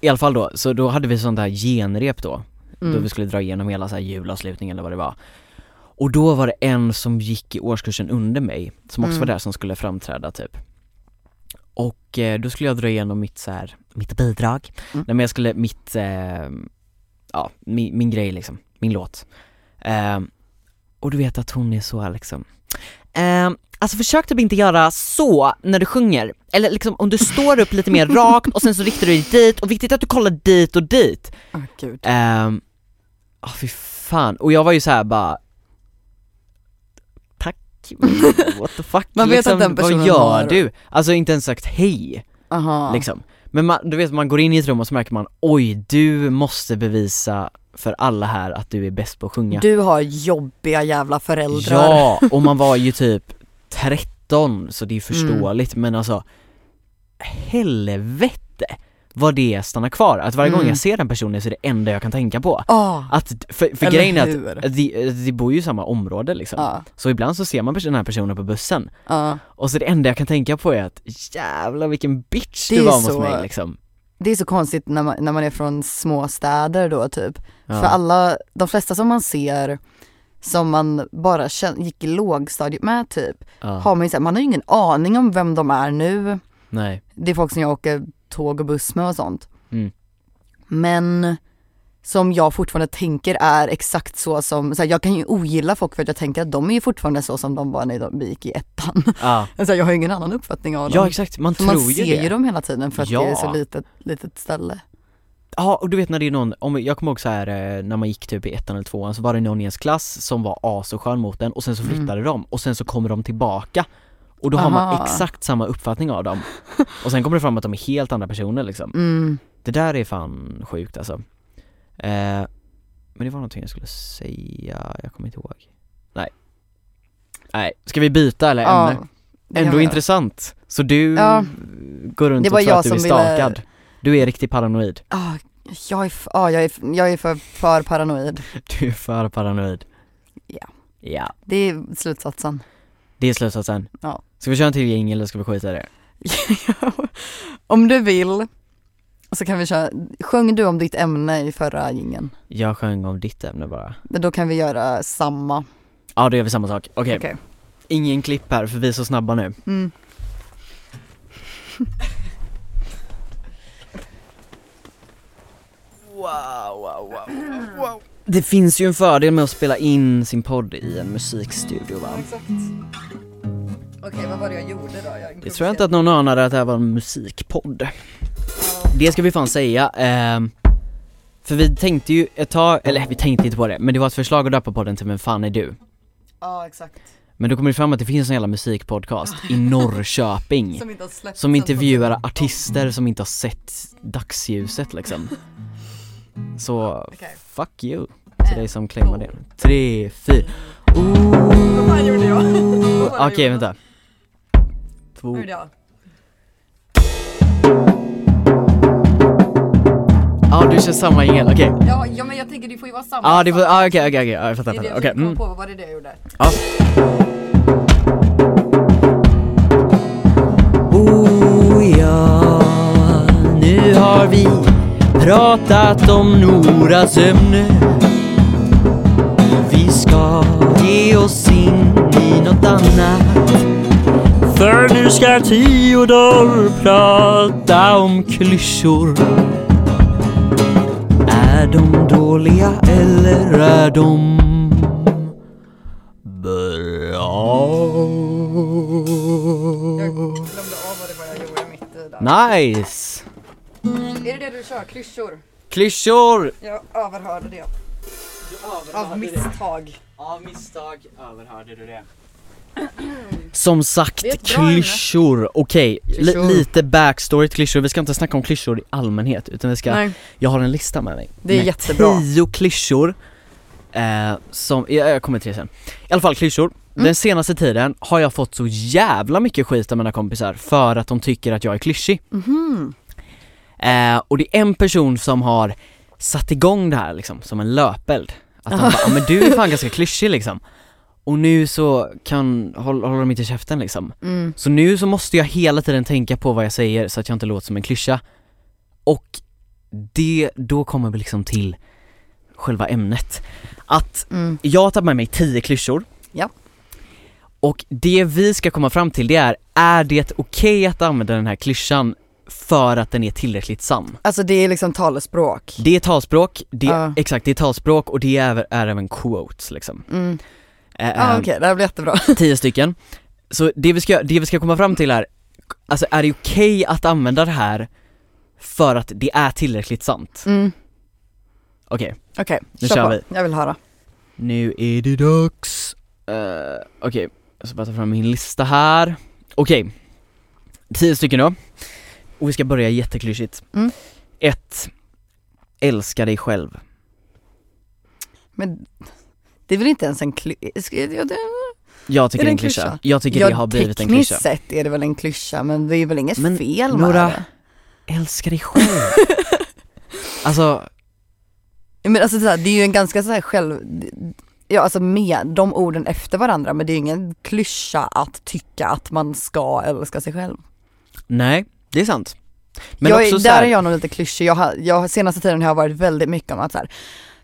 i alla fall då, så då hade vi sånt här genrep då, då vi Mm. skulle dra igenom hela så här julavslutningen eller vad det var. Och då var det en som gick i årskursen under mig, som också Mm. var där som skulle framträda typ. Och eh, då skulle jag dra igenom mitt så här, mitt bidrag. Mm. Nej men jag skulle, mitt, eh, ja min, min grej liksom, min låt. Ehm, och du vet att hon är så här liksom, ehm, alltså försök typ inte göra så när du sjunger. Eller liksom om du står upp lite mer rakt och sen så riktar du dig dit och viktigt att du kollar dit och dit. Ah, gud. Ehm, ah fy fan, och jag var ju så här bara Tack, what the fuck Liksom, Man vet att den personen Vad gör har- du? Alltså inte ens sagt hej, Aha. liksom Men man, du vet man går in i ett rum och så märker man oj du måste bevisa för alla här att du är bäst på att sjunga Du har jobbiga jävla föräldrar. Ja, och man var ju typ 13 så det är Mm. förståeligt men alltså helvete vad det stannar kvar, att varje gång Mm. jag ser den personen så är det enda jag kan tänka på Ah, Att, för, för eller grejen är att hur? de, de bor ju i samma område liksom, Ja, så ibland så ser man pers- den här personen på bussen ja. och så det enda jag kan tänka på är att jävlar vilken bitch Det du är var mot så- mig liksom Det är så konstigt när man, när man är från små städer då typ. ja. För alla, de flesta som man ser som man bara känn, gick i lågstadiet med typ, ja. har man ju så här, man har ju ingen aning om vem de är nu. Nej, Det är folk som jag åker tåg och buss med och sånt. Mm. Men som jag fortfarande tänker är exakt så som, så här, jag kan ju ogilla folk för att jag tänker att de är ju fortfarande så som de var när de- vi gick i ettan. ja. Alltså, jag har ju ingen annan uppfattning av dem. ja exakt, man För man tror ju ser det ju dem hela tiden för att Ja. det är så litet, litet ställe. Ja, och du vet när det är någon, om, jag kommer ihåg så här eh, när man gick typ i ettan eller tvåan så var det någon i ens klass som var as och skön mot den och sen Mm. så flyttade de och sen så kommer de tillbaka och då har Aha. man exakt samma uppfattning av dem. Och sen kommer det fram att de är helt andra personer liksom. Mm. Det där är fan sjukt alltså. Eh, men det var någonting jag skulle säga, jag kommer inte ihåg. Nej. Nej, ska vi byta eller ämne? Ja, det kan Ändå vi göra. intressant. Så du Ja. går runt Det och var tror jag att du som är ville- stakad. Du är riktigt paranoid. Ah, jag är, f- ah, jag är, f- jag är för, för paranoid. Du är för paranoid. Ja. Ja, Det är slutsatsen. det är slutsatsen. Ja. Ska vi köra en till jingel eller ska vi skita i det? om du vill så kan vi köra, sjöng du om ditt ämne i förra gingen? Jag sjöng om ditt ämne bara. Men då kan vi göra samma. Ja, då gör vi samma sak. Okej, Okej. ingen klipp här för vi är så snabba nu. Mm. Det finns ju en fördel med att spela in sin podd i en musikstudio va? Exakt. Okej, vad var det jag gjorde då? Jag Det tror jag inte att någon anade att det här var en musikpodd. Det ska vi fan säga. ehm, för vi tänkte ju ett tag, eller vi tänkte inte på det, men det var ett förslag att döpa podden till Vem fan är du? Ja, exakt. Men då kommer det fram att det finns en jävla musikpodcast i Norrköping Som inte har släppts. Som än intervjuar på- artister som inte har sett dagsljuset liksom Så, Okej. fuck you till dig som claimar det Tre, fyra, Vad fan gjorde jag? Vad okej fan gjorde jag? vänta Två, Vad gjorde jag? ja ah, du kör samma jingel, okej Ja Ja, ja, men jag tänker det får ju vara samma. ah, det var, ah, okej okej okej, ja, jag Det fattar, är det fattar. jag okej okay. mm. på, vad var det det jag gjorde? Ja. Oh ja, nu har vi pratat om Nora sömne. Vi ska ge oss in i något annat. För nu ska Theodor prata om klyschor. Är de dåliga eller är de bra? Glömde av vad det var jag gjorde mitt i där. Nice! Är det det du kör? Klyschor? Klyschor! Jag överhörde det. Av misstag. Av misstag överhörde du det. Som Det är sagt, ett bra ämne. klyschor. Okej, li- Klyschor. lite backstory till klyschor. Vi ska inte snacka om klyschor i allmänhet utan vi ska, jag har en lista med mig. Det är med jättebra. Tio klyschor. Eh, som, jag, jag kommer till det sen. I alla fall klyschor. Mm. Den senaste tiden har jag fått så jävla mycket skit av mina kompisar för att de tycker att jag är klyschig. Mhm. Eh, och det är en person som har satt igång det här liksom, som en löpeld. Att han bara, "Ja, men du är fan ganska klyschig liksom. Och nu så kan, håll, håller de inte käften liksom. Mm. Så nu så måste jag hela tiden tänka på vad jag säger så att jag inte låter som en klyscha. Och det, då kommer vi liksom till själva ämnet. Att Mm. jag tar med mig tio klyschor. Ja. Och det vi ska komma fram till det är, är det okej att använda den här klyschan för att den är tillräckligt sann? Alltså det är liksom talespråk. Det är talspråk, det, Ja. exakt det är talspråk och det är, är även quotes liksom. Mm. Eh, Ja ehm, okej, det här blir jättebra. tio stycken. Så det vi ska, det vi ska komma fram till är, alltså är det okej att använda det här för att det är tillräckligt sant? Mm. Okej, Okej, Nu kör kör på. vi. Jag vill höra. nu är det dags. Eh, okej, jag ska bara ta fram min lista här. Okej, tio stycken då. Och vi ska börja jätteklyschigt. Mm. Ett, Älska dig själv. Men det är väl inte ens en klyscha? Jag tycker Är det det är en en klyscha. klyscha? Jag tycker det har blivit en klyscha. tekniskt sett är det väl en klyscha men det är väl inget Men fel med Nora- det. Älska dig själv. alltså, Ja, Men alltså det är, det är ju en ganska så här själv, ja alltså med de orden efter varandra men det är ju ingen klyscha att tycka att man ska älska sig själv. nej, det är sant. Men jag, är- så här- där är jag nog lite klyschig, jag har, jag, har- senaste tiden har jag varit väldigt mycket om att så här,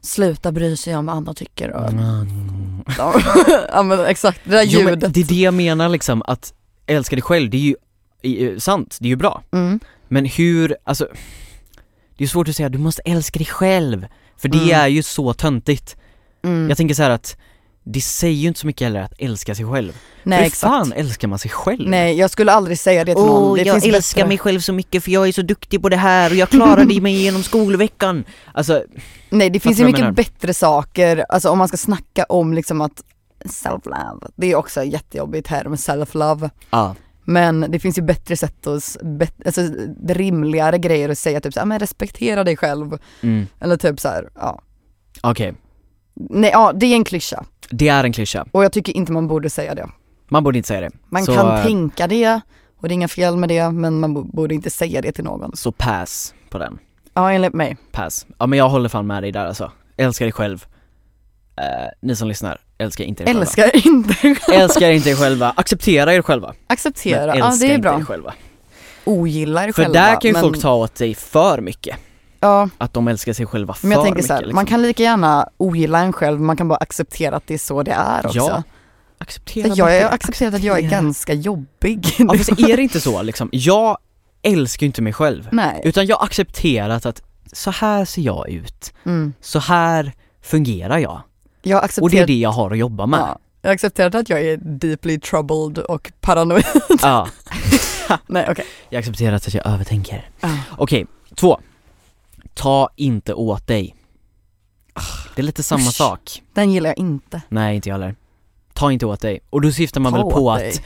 sluta bry sig om vad andra tycker och ja men exakt, det där Mm. Jo, men ljudet. det är det jag menar liksom, att älska dig själv, det är ju i- eh, sant, det är ju bra. Mm. Men hur, alltså, det är svårt att säga du måste älska dig själv, för det Mm. är ju så töntigt. Mm. Jag tänker så här att det säger ju inte så mycket heller att älska sig själv. Nej Hur exakt. fan Oh, älskar man sig själv? Nej jag skulle aldrig säga det till någon. Det finns bättre. själv så mycket för jag är så duktig på det här och jag klarade mig genom skolveckan. Alltså, Nej det finns ju vad jag mycket menar? bättre saker, alltså om man ska snacka om liksom att self-love, det är också en jättejobbig term, self-love. ja. Men det finns ju bättre sätt att, s- bet- alltså det är rimligare grejer att säga typ såhär, men respektera dig själv. Mm. Eller typ såhär, ja. Okej, Nej ja, det är en klyscha. det är en klyscha. Och jag tycker inte man borde säga det. Man borde inte säga det. Man så, kan eh, tänka det och det är inga fel med det, men man bo- borde inte säga det till någon. Så pass på den. Ja enligt mig. Pass. Ja men jag håller fan med dig där alltså. Älska dig själv. Eh, ni som lyssnar, älska inte er själva. Älskar inte. Älska inte er själva, acceptera er själva. Men Acceptera, ja älska det är inte bra. er själva. Ogillar För själva. där kan ju men- folk ta åt sig för mycket. Ja. Att de älskar sig själva för Men jag tänker mycket. så här, liksom. man kan lika gärna ogilla en själv, man kan bara acceptera att det är så det är också. liksom. Ja, Ja, acceptera jag har bara ju det. accepterat att jag är acceptera. ganska jobbig. Ja fast är det inte så liksom, jag älskar ju inte mig själv. Nej. Utan jag har accepterat att så här ser jag ut, Mm. så här fungerar jag. Jag Och det har är accepterat, det jag har att jobba med. ja, jag har accepterat att jag är deeply troubled och paranoid. Ja, Nej okej. jag har accepterat att jag övertänker. Ja. Okej, två. Ta inte åt dig. Det är lite samma usch. sak. Den gillar jag inte. Nej, inte jag heller. Ta inte åt dig. Och då syftar man Ta väl åt på dig. att...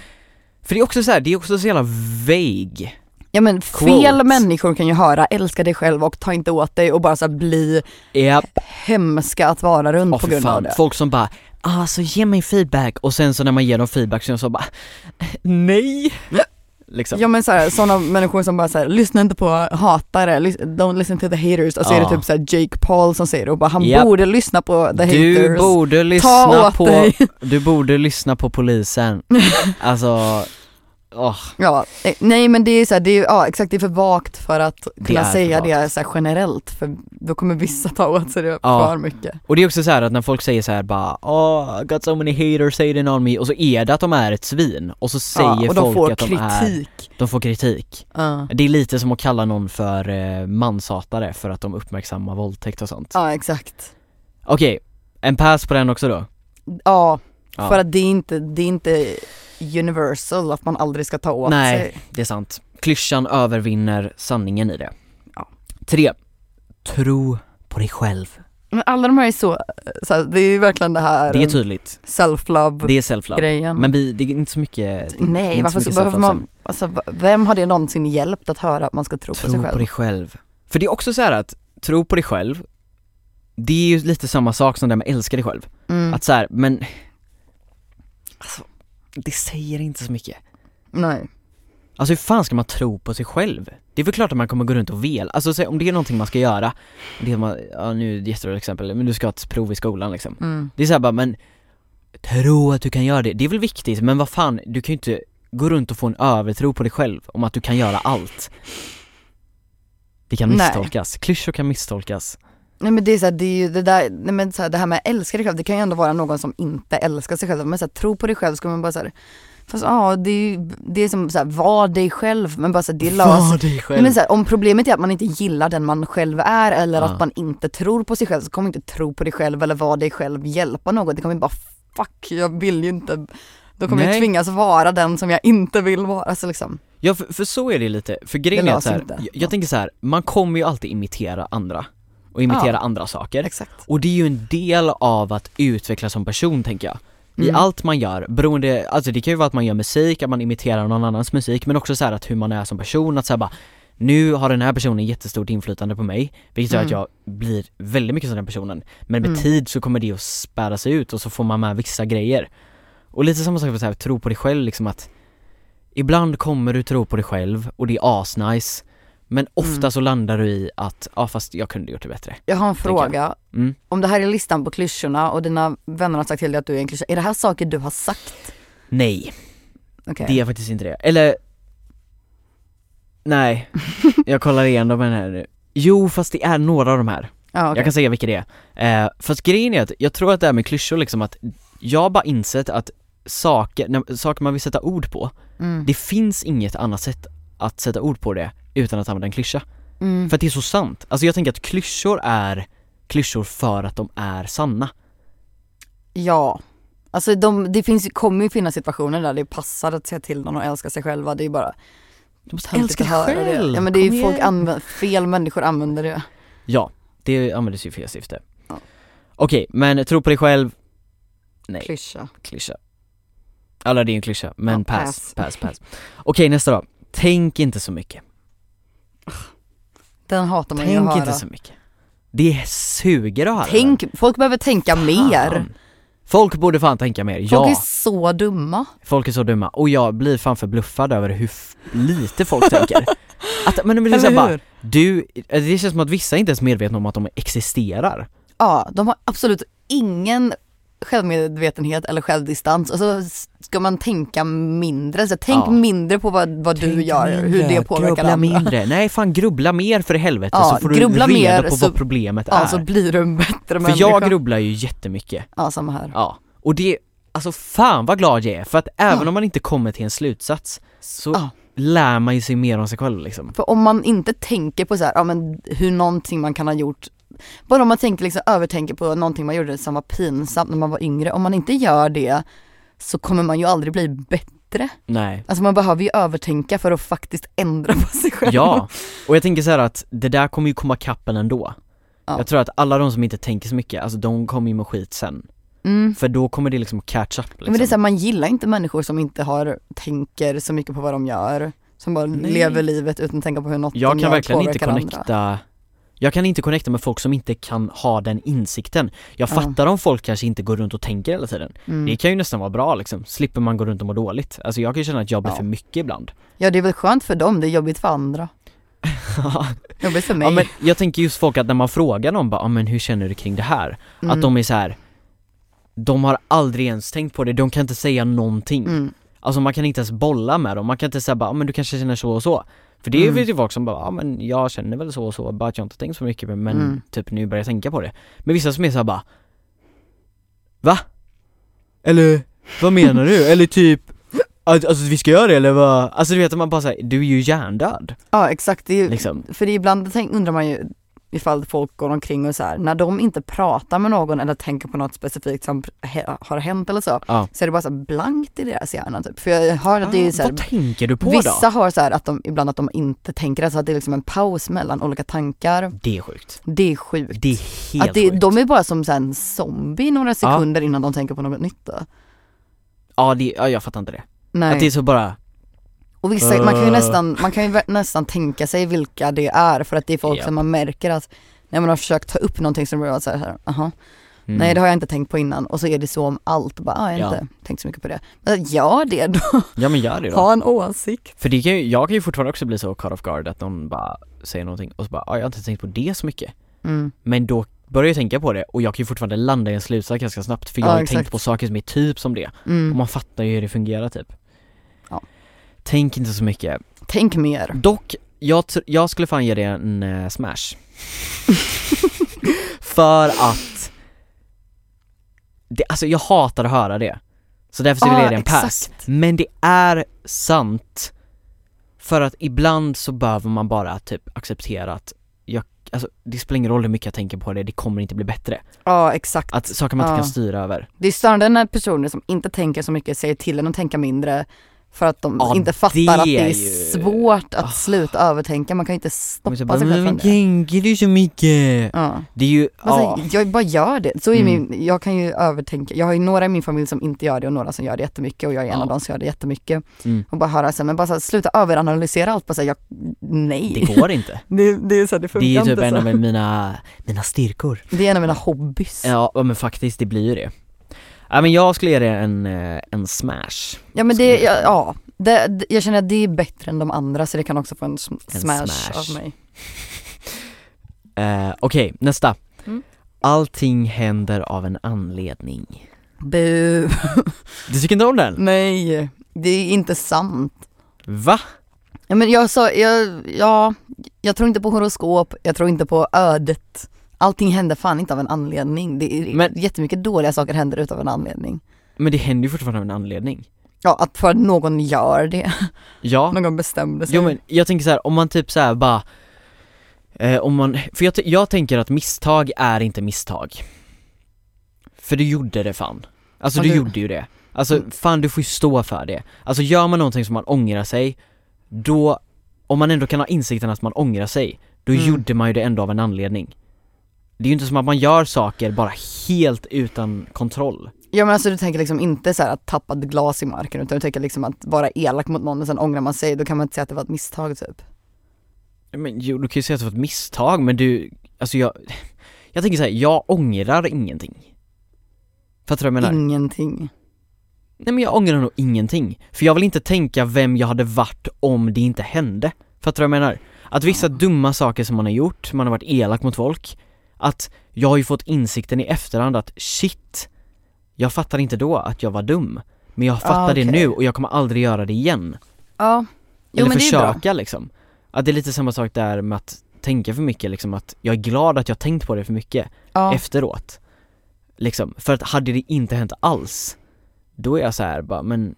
För det är också så här, det är också så jävla vague. Ja men Quote. fel människor kan ju höra älska dig själv och ta inte åt dig och bara så här bli Japp. hemska att vara runt Ja Mm, på för grund av fan, det. folk som bara alltså ge mig feedback och sen så när man ger dem feedback så är de så bara nej. Liksom. Ja men såhär, sådana människor som bara såhär, lyssna inte på hatare, lys- don't listen to the haters. Och så är Ja. det typ såhär Jake Paul som säger det och bara han Japp. borde lyssna på the du haters. borde Ta lyssna åt på, dig. du borde lyssna på polisen. Alltså, åh, Ja, eh, nej men det är såhär, det är, ja exakt det är för vagt för att kunna är för säga vagt. det såhär generellt för då kommer vissa ta åt sig det Ja. för mycket. Och det är också så här att när folk säger så här bara oh, I got so many haters hating on me och så är det att de är ett svin och så säger ja, och folk de får att de är, kritik. de får kritik. Ja. Det är lite som att kalla någon för eh, manshatare för att de uppmärksammar våldtäkt och sånt. ja exakt. Okej, en pass på den också då. Ja, Ja. för att det är, inte, det är inte universal att man aldrig ska ta åt Nej. sig. Det är sant. Klyschan övervinner sanningen i det. Ja. Tre. Tro på dig själv. Men alla de här är så, så här, det är ju verkligen det här Det är tydligt. Det self-love är self-love. grejen. Men vi, det är inte så mycket det är inte Nej, varför så mycket behöver self-love man, alltså, v- vem har det någonsin hjälpt att höra att man ska tro, som på sig Tro på själv? dig själv. För det är också så här att, tro på dig själv, det är ju lite samma sak som det här med älska dig själv. Mm. Att så här, men alltså, det säger inte så mycket. Nej. Alltså hur fan ska man tro på sig själv? Det är väl klart att man kommer gå runt och vel, alltså så, om det är någonting man ska göra, det är man, ja nu är det ett jättebra exempel, men du ska ha ett prov i skolan liksom. Mm. Det är såhär bara, men tro att du kan göra det, det är väl viktigt, men vad fan, du kan ju inte gå runt och få en övertro på dig själv om att du kan göra allt. Det kan Nej. misstolkas, klyschor kan misstolkas. Nej men det är så här, det är ju det där, nej men så här, det här med älska dig själv, det kan ju ändå vara någon som inte älskar sig själv, men så här, tro på dig själv ska man bara så här, fast ja det är ju, det är som så här, var dig själv, men bara så här, det löser Var dig Nej, själv. Men så här, om problemet är att man inte gillar den man själv är eller Ja. att man inte tror på sig själv så kommer inte tro på dig själv eller vara dig själv hjälpa något. Det kommer bara fuck, jag vill ju inte. Då kommer Nej. jag tvingas vara den som jag inte vill vara. Alltså liksom. Ja för, för så är det lite, för grejen Det är att löser så här, inte. jag, Ja. jag tänker så här, man kommer ju alltid imitera andra och imitera Ja. andra saker. Exakt. Och det är ju en del av att utvecklas som person tänker jag. I Mm. allt man gör, beroende, alltså det kan ju vara att man gör musik, att man imiterar någon annans musik men också så här att hur man är som person, att säga bara nu har den här personen jättestort inflytande på mig, vilket gör att Mm. jag blir väldigt mycket som den personen. Men med Mm. tid så kommer det att spära sig ut och så får man med vissa grejer. Och lite samma sak med så här, tro på dig själv liksom att ibland kommer du tro på dig själv och det är asnice men ofta Mm. så landar du i att, ja fast jag kunde gjort det bättre. Jag har en Tänker jag. fråga. Mm. Om det här är listan på klyschorna och dina vänner har sagt till dig att du är en klyscha. Är det här saker du har sagt? Nej. Okej. Det är faktiskt inte det. Eller Nej, jag kollar igenom den här nu. Jo fast det är några av de här. Ja, okej. Jag kan säga vilka det är. Eh, fast grejen är att jag tror att det här med klyschor liksom att jag har bara insett att saker, när, saker man vill sätta ord på, mm. det finns inget annat sätt att sätta ord på det utan att använda en klyscha. Mm. För att det är så sant. Alltså jag tänker att klyschor är klyschor för att de är sanna. Ja, Alltså de, det finns, kommer ju finnas situationer där det passar att säga till någon att älska sig själva, det är ju bara Du måste hemskt älska att dig höra själv! det. Ja men det är Kom ju folk, igen. anvä- fel människor använder det. Ja, det användes ju i fel syfte. Ja. Okej, men tro på dig själv, Nej. Klyscha. klyscha. Eller det är ju en klyscha, men Ja, pass, pass. pass, pass. Okej nästa då. Tänk inte så mycket. Den hatar man ju att Tänk höra. inte så mycket. Det suger att höra. Tänk, folk behöver tänka mer. Fan. Folk borde fan tänka mer, Folk ja. är så dumma. Folk är så dumma och jag blir fan förbluffad över hur f- lite folk tänker. Att, men det blir såhär bara, du, det känns som att vissa inte ens är medvetna om att de existerar. Ja, de har absolut ingen självmedvetenhet eller självdistans och så ska man tänka mindre. Så tänk Ja. mindre på vad, vad du Tänk gör, hur mindre, det påverkar grubbla andra. mindre. Nej fan grubbla mer för helvete Ja, så får du grubbla reda mer på så- vad problemet Ja, är. så blir du en bättre för människa. jag grubblar ju jättemycket. Ja, samma här. Ja. Och det, alltså fan vad glad jag är för att även Ja. om man inte kommer till en slutsats så Ja. lär man ju sig mer om sig själv liksom. För om man inte tänker på så här, ja, men hur någonting man kan ha gjort, bara om man tänker liksom, övertänker på någonting man gjorde som var pinsamt när man var yngre, om man inte gör det så kommer man ju aldrig bli bättre. Nej. Alltså man behöver ju övertänka för att faktiskt ändra på sig själv. Ja, och jag tänker så här att det där kommer ju komma kappen ändå. Ja. Jag tror att alla de som inte tänker så mycket, alltså de kommer ju med skit sen. Mm. För då kommer det liksom catch up liksom. Men det är så här, man gillar inte människor som inte har, tänker så mycket på vad de gör. Som bara Nej. lever livet utan att tänka på hur något jag de kan gör verkligen inte påverkar andra. connecta Jag kan inte connecta med folk som inte kan ha den insikten. Jag Ja. fattar om folk kanske inte går runt och tänker hela tiden. Mm. Det kan ju nästan vara bra liksom, slipper man gå runt och må dåligt. Alltså jag kan ju känna att jag blir Ja. för mycket ibland. Ja det är väl skönt för dem, det är jobbigt för andra. Jobbigt för mig. ja, men jag tänker just folk att när man frågar någon bara, "Ah, men hur känner du kring det här? Mm. Att de är så här. De har aldrig ens tänkt på det, de kan inte säga någonting. Mm. Mm. Alltså man kan inte ens bolla med dem, man kan inte säga bara, "Ah, men du kanske känner så och så. För det Mm. vet ju folk som bara, ja men jag känner väl så och så, bara att jag inte tänkt så mycket men Mm. typ nu börjar jag tänka på det. Men vissa som är såhär bara, va? Eller vad menar du? eller typ, att, alltså vi ska göra det eller vad? Alltså du vet man bara säger du är ju hjärndöd Ja exakt, det är ju, liksom. för det är ibland tänk, undrar man ju ifall folk går omkring och så här, när de inte pratar med någon eller tänker på något specifikt som he- har hänt eller så, Ja. så är det bara så här blankt i deras hjärna typ. För jag hör att det är så här, Ah, vad tänker du på vissa då? har så här att de, ibland att de inte tänker, alltså att det är liksom en paus mellan olika tankar. Det är sjukt. Det är sjukt. Det är helt att det, sjukt. de är bara som så här en zombie i några sekunder innan de tänker på något nytt då. Ja, det, ja jag fattar inte det. Att det är Nej. så bara, Och vissa, man kan ju Uh. nästan, man kan ju vä- nästan tänka sig vilka det är för att det är folk Japp. som man märker att när man har försökt ta upp någonting som bara så här, aha, mm. nej det har jag inte tänkt på innan och så är det så om allt, bara, ah, jag har Ja. inte tänkt så mycket på det. Men gör det då, ja men gör det då. ha en åsikt. För det kan ju, jag kan ju fortfarande också bli så cut off guard att någon bara säger någonting och så bara ah, jag har inte tänkt på det så mycket. Mm. Men då börjar jag tänka på det och jag kan ju fortfarande landa i en slutsats ganska snabbt för jag Ja, har ju exakt. tänkt på saker som är typ som det. Och Mm. man fattar ju hur det fungerar typ. Ja. Tänk inte så mycket. Tänk mer. Dock, jag, tr- jag skulle fan ge det en eh, smash. för att det, alltså jag hatar att höra det. Så därför skulle jag ge det en pass. Men det är sant För att ibland så behöver man bara typ acceptera att jag, alltså, det spelar ingen roll hur mycket jag tänker på det, det kommer inte bli bättre. Ja exakt. Att saker man inte Ja. kan styra över. Det är störande när personer som inte tänker så mycket säger till en att tänka mindre för att de Ja, inte fattar det att det är är ju- svårt att Ah. sluta övertänka, man kan ju inte Man stoppa så sig bara, själv från men det. tänker du så mycket? Ja. Det är ju, ja. Alltså, jag bara gör det. Så är Mm. min, jag kan ju övertänka, jag har ju några i min familj som inte gör det och några som gör det jättemycket och jag är en Ja. av dem som gör det jättemycket. Mm. Och bara höra så här, men bara så här, sluta överanalysera allt, bara säga nej. Det går inte. Det, det är så här, det funkar Det är typ inte en så. av mina, mina styrkor. Det är en av mina hobbys. Ja, Ja men faktiskt, det blir ju det. Ja men jag skulle ge det en, eh, en smash. Skulle men det, jag ja, säga. ja. Det, det, jag känner att det är bättre än de andra så det kan också få en, sm- En smash, smash. av mig. Eh, Okej, nästa. Mm. Allting händer av en anledning. Bu. Du tycker inte om Mm. den? Nej, det är inte sant. Va? Ja, men jag sa, jag, ja, jag tror inte på horoskop, jag tror inte på ödet. Allting händer fan inte av en anledning. Det är Men- jättemycket dåliga saker händer utav en anledning. Men det händer ju fortfarande av en anledning. Ja, att för att någon gör det, Ja. någon bestämde sig. Jo men jag tänker så här, om man typ så här bara eh, om man, för jag, t- jag tänker att misstag är inte misstag. För du gjorde det fan. Alltså Ja, du det- gjorde ju det. Alltså Mm. fan du får ju stå för det. Alltså gör man någonting som man ångrar sig, då, om man ändå kan ha insikten att man ångrar sig, då Mm. gjorde man ju det ändå av en anledning. Det är ju inte som att man gör saker bara helt utan kontroll. Ja men alltså du tänker liksom inte så här att tappa ett glas i marken utan du tänker liksom att vara elak mot någon och sen ångrar man sig, då kan man inte säga att det var ett misstag typ. Men jo, du kan ju säga att det var ett misstag men du, alltså jag, jag tänker såhär, jag ångrar ingenting. Fattar du vad jag menar? Ingenting. Nej men jag ångrar nog ingenting. För jag vill inte tänka vem jag hade varit om det inte hände. Fattar du vad jag menar? Att vissa dumma saker som man har gjort, man har varit elak mot folk, att jag har ju fått insikten i efterhand att shit, jag fattar inte då att jag var dum. Men jag fattar det okej. nu och jag kommer aldrig göra det igen. Ja. Jo Eller men det är bra. försöka liksom. Att det är lite samma sak där med att tänka för mycket liksom, att jag är glad att jag tänkt på det för mycket Ja. efteråt. Liksom, för att hade det inte hänt alls, då är jag så här bara, men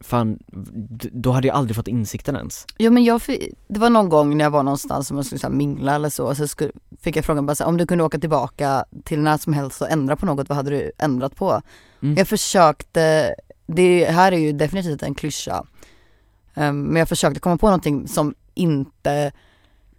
fan, d- då hade jag aldrig fått insikten ens. Jo men jag fick, det var någon gång när jag var någonstans som jag skulle så här mingla eller så, och så skulle, fick jag frågan bara så här, om du kunde åka tillbaka till när som helst och ändra på något, vad hade du ändrat på? Mm. Jag försökte, det här är ju definitivt en klyscha, Ehm, men jag försökte komma på någonting som inte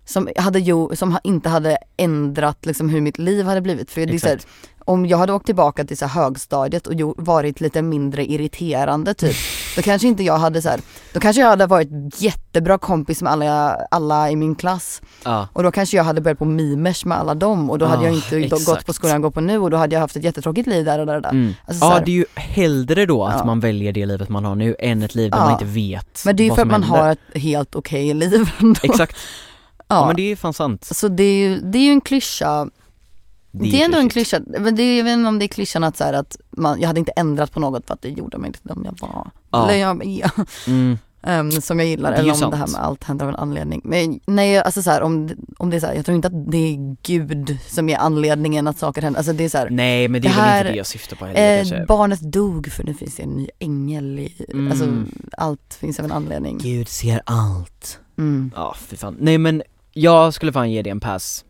som, hade jo, som ha- inte hade ändrat liksom hur mitt liv hade blivit. För det är så här, om jag hade åkt tillbaka till så här högstadiet och jo- varit lite mindre irriterande typ, då kanske inte jag hade så här, då kanske jag hade varit jättebra kompis med alla, alla i min klass Ja, och då kanske jag hade börjat på mimers med alla dem och då hade Ah, jag inte då, gått exakt. på skolan jag går på nu och då hade jag haft ett jättetråkigt liv där och där och där. mm. Alltså, så ja här, det är ju hellre då att Ja. man väljer det livet man har nu än ett liv där Ja. man inte vet men det är ju vad för att som man händer. har ett helt okej liv ändå. Exakt, ja. Ja. men det är fan sant. Så det är ju det är ju en klyscha, det är, ändå en klyschigt. klyscha, men det är, jag vet inte om det är klyschan att, så här, att man, jag hade inte ändrat på något för att det gjorde mig inte den jag var. Ja. Eller jag, ja, Mm. Ehm, som jag gillar, Det är ju eller om sant. det här med allt händer av en anledning. Men nej, alltså så här, om, det- om det är så här, jag tror inte att det är Gud som är anledningen att saker händer. Alltså det är så här, Nej men det är Det väl här- inte det jag syftar på heller eh, kanske. barnet dog för nu finns det en ny ängel i, Mm. alltså allt finns av en anledning. Gud ser allt. Mm. Ja fy fan. Nej men jag skulle fan ge det en pass.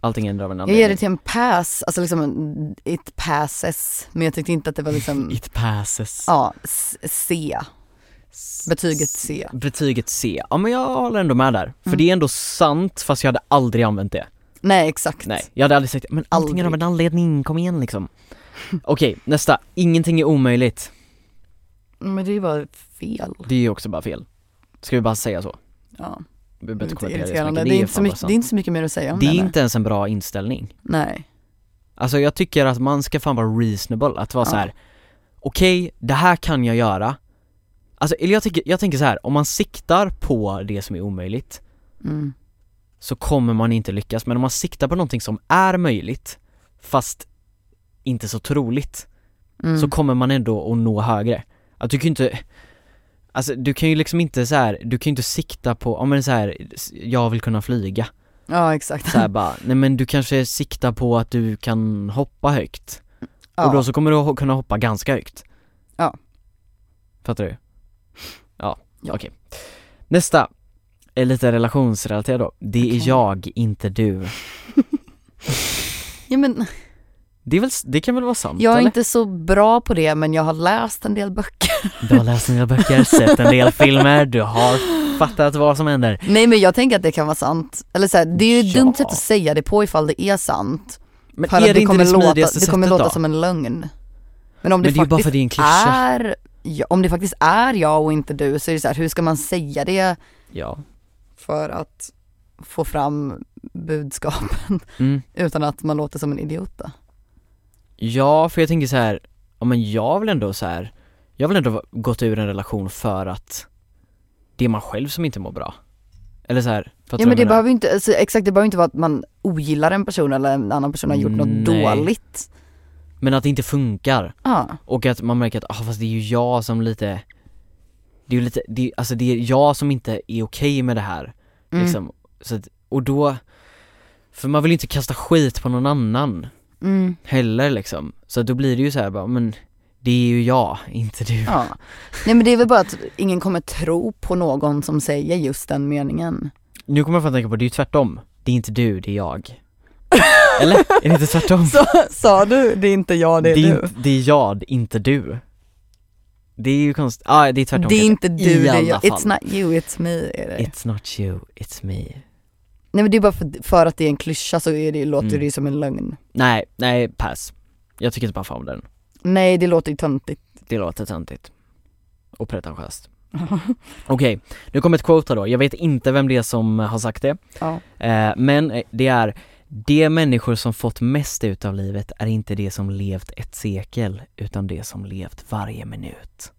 Allting ändrar av en Jag anledning. ger det till en pass, alltså liksom en- it passes, men jag tyckte inte att det var liksom, It passes. ja, s- C, betyget C. Betyget C. Ja men jag håller ändå med där. För det är ändå sant fast jag hade aldrig använt det. Nej exakt. Nej, jag hade aldrig sagt men allting Aldrig. av en anledning, kom igen liksom. Okej, nästa. Ingenting är omöjligt. Men det är ju bara fel. Det är ju också bara fel. Ska vi bara säga så? Ja. Vi behöver Det är, inte lite kommentera det, så irriterande. mycket. det, är inte så fan bara mycket, sant. det är inte så mycket mer att säga om Det är det. eller? inte ens en bra inställning. Nej. Alltså jag tycker att man ska fan vara reasonable, att vara Ja. så här. okej, det här kan jag göra. Alltså, eller jag, tycker, jag tänker så här, om man siktar på det som är omöjligt, Mm. så kommer man inte lyckas. Men om man siktar på någonting som är möjligt, fast inte så troligt, Mm. så kommer man ändå att nå högre. Att du kan ju inte, alltså du kan ju liksom inte så här, du kan ju inte sikta på, ja men så här, s- jag vill kunna flyga. Ja exakt. Så här bara, nej men du kanske siktar på att du kan hoppa högt. ja. Och då så kommer du att kunna hoppa ganska högt. Ja. Fattar du? Ja, Ja. okej. Nästa, är lite relationsrelaterad då. Det är Okej. jag, inte du. ja, men, Det, är väl, det kan väl vara sant jag är eller? inte så bra på det men jag har läst en del böcker. Du har läst en del böcker, sett en del filmer, du har fattat vad som händer. Nej men jag tänker att det kan vara sant. Eller så här, det är ju ett Ja. dumt sätt att säga det på ifall det är sant. Men För är det, att det inte kommer det låta, smidigaste det kommer sättet låta då? som en lögn. Men om Men det, det är ju bara för faktiskt att det är en klyscha. är, ja, om det faktiskt är jag och inte du så är det så här, hur ska man säga det Ja. för att få fram budskapen Mm. utan att man låter som en idiot då? ja, för jag tänker så här, ja men jag vill ändå så här, jag vill ändå va- gått ur en relation för att det är man själv som inte mår bra. Eller så här, fattar Ja du men vad det jag menar? behöver ju inte, alltså, exakt det behöver ju inte vara att man ogillar en person eller en annan person har gjort något Nej. dåligt. Men att det inte funkar. Ja. Och att man märker att, ah, fast det är ju jag som lite, det är ju lite, det, alltså det är jag som inte är okej med det här. Mm. Liksom, så att, och då, för man vill ju inte kasta skit på någon annan Mm. heller liksom. Så att då blir det ju så här bara, men det är ju jag, inte du. Ja. Nej men det är väl bara att ingen kommer tro på någon som säger just den meningen. Nu kommer jag fan tänka på, det är ju tvärtom. Det är inte du, det är jag. Eller? Är det inte tvärtom? Så, sa du det är inte jag, det är, det, är du? inte, det är jag, det är inte du. Det är ju konstigt, ja ah, det är tvärtom Det är kanske. inte du, det är alla jag. It's fall. not you, it's me är det. It's not you, it's me. Nej men det är bara för, för att det är en klyscha så är det, låter Mm. det ju som en lögn. Nej, nej pass. Jag tycker inte bara fan om den. Nej det låter ju töntigt. Det låter töntigt. Och pretentiöst. Okej, nu kommer ett quote här då. Jag vet inte vem det är som har sagt det. ja. Eh, men eh, det är de människor som fått mest ut av livet är inte de som levt ett sekel utan de som levt varje minut.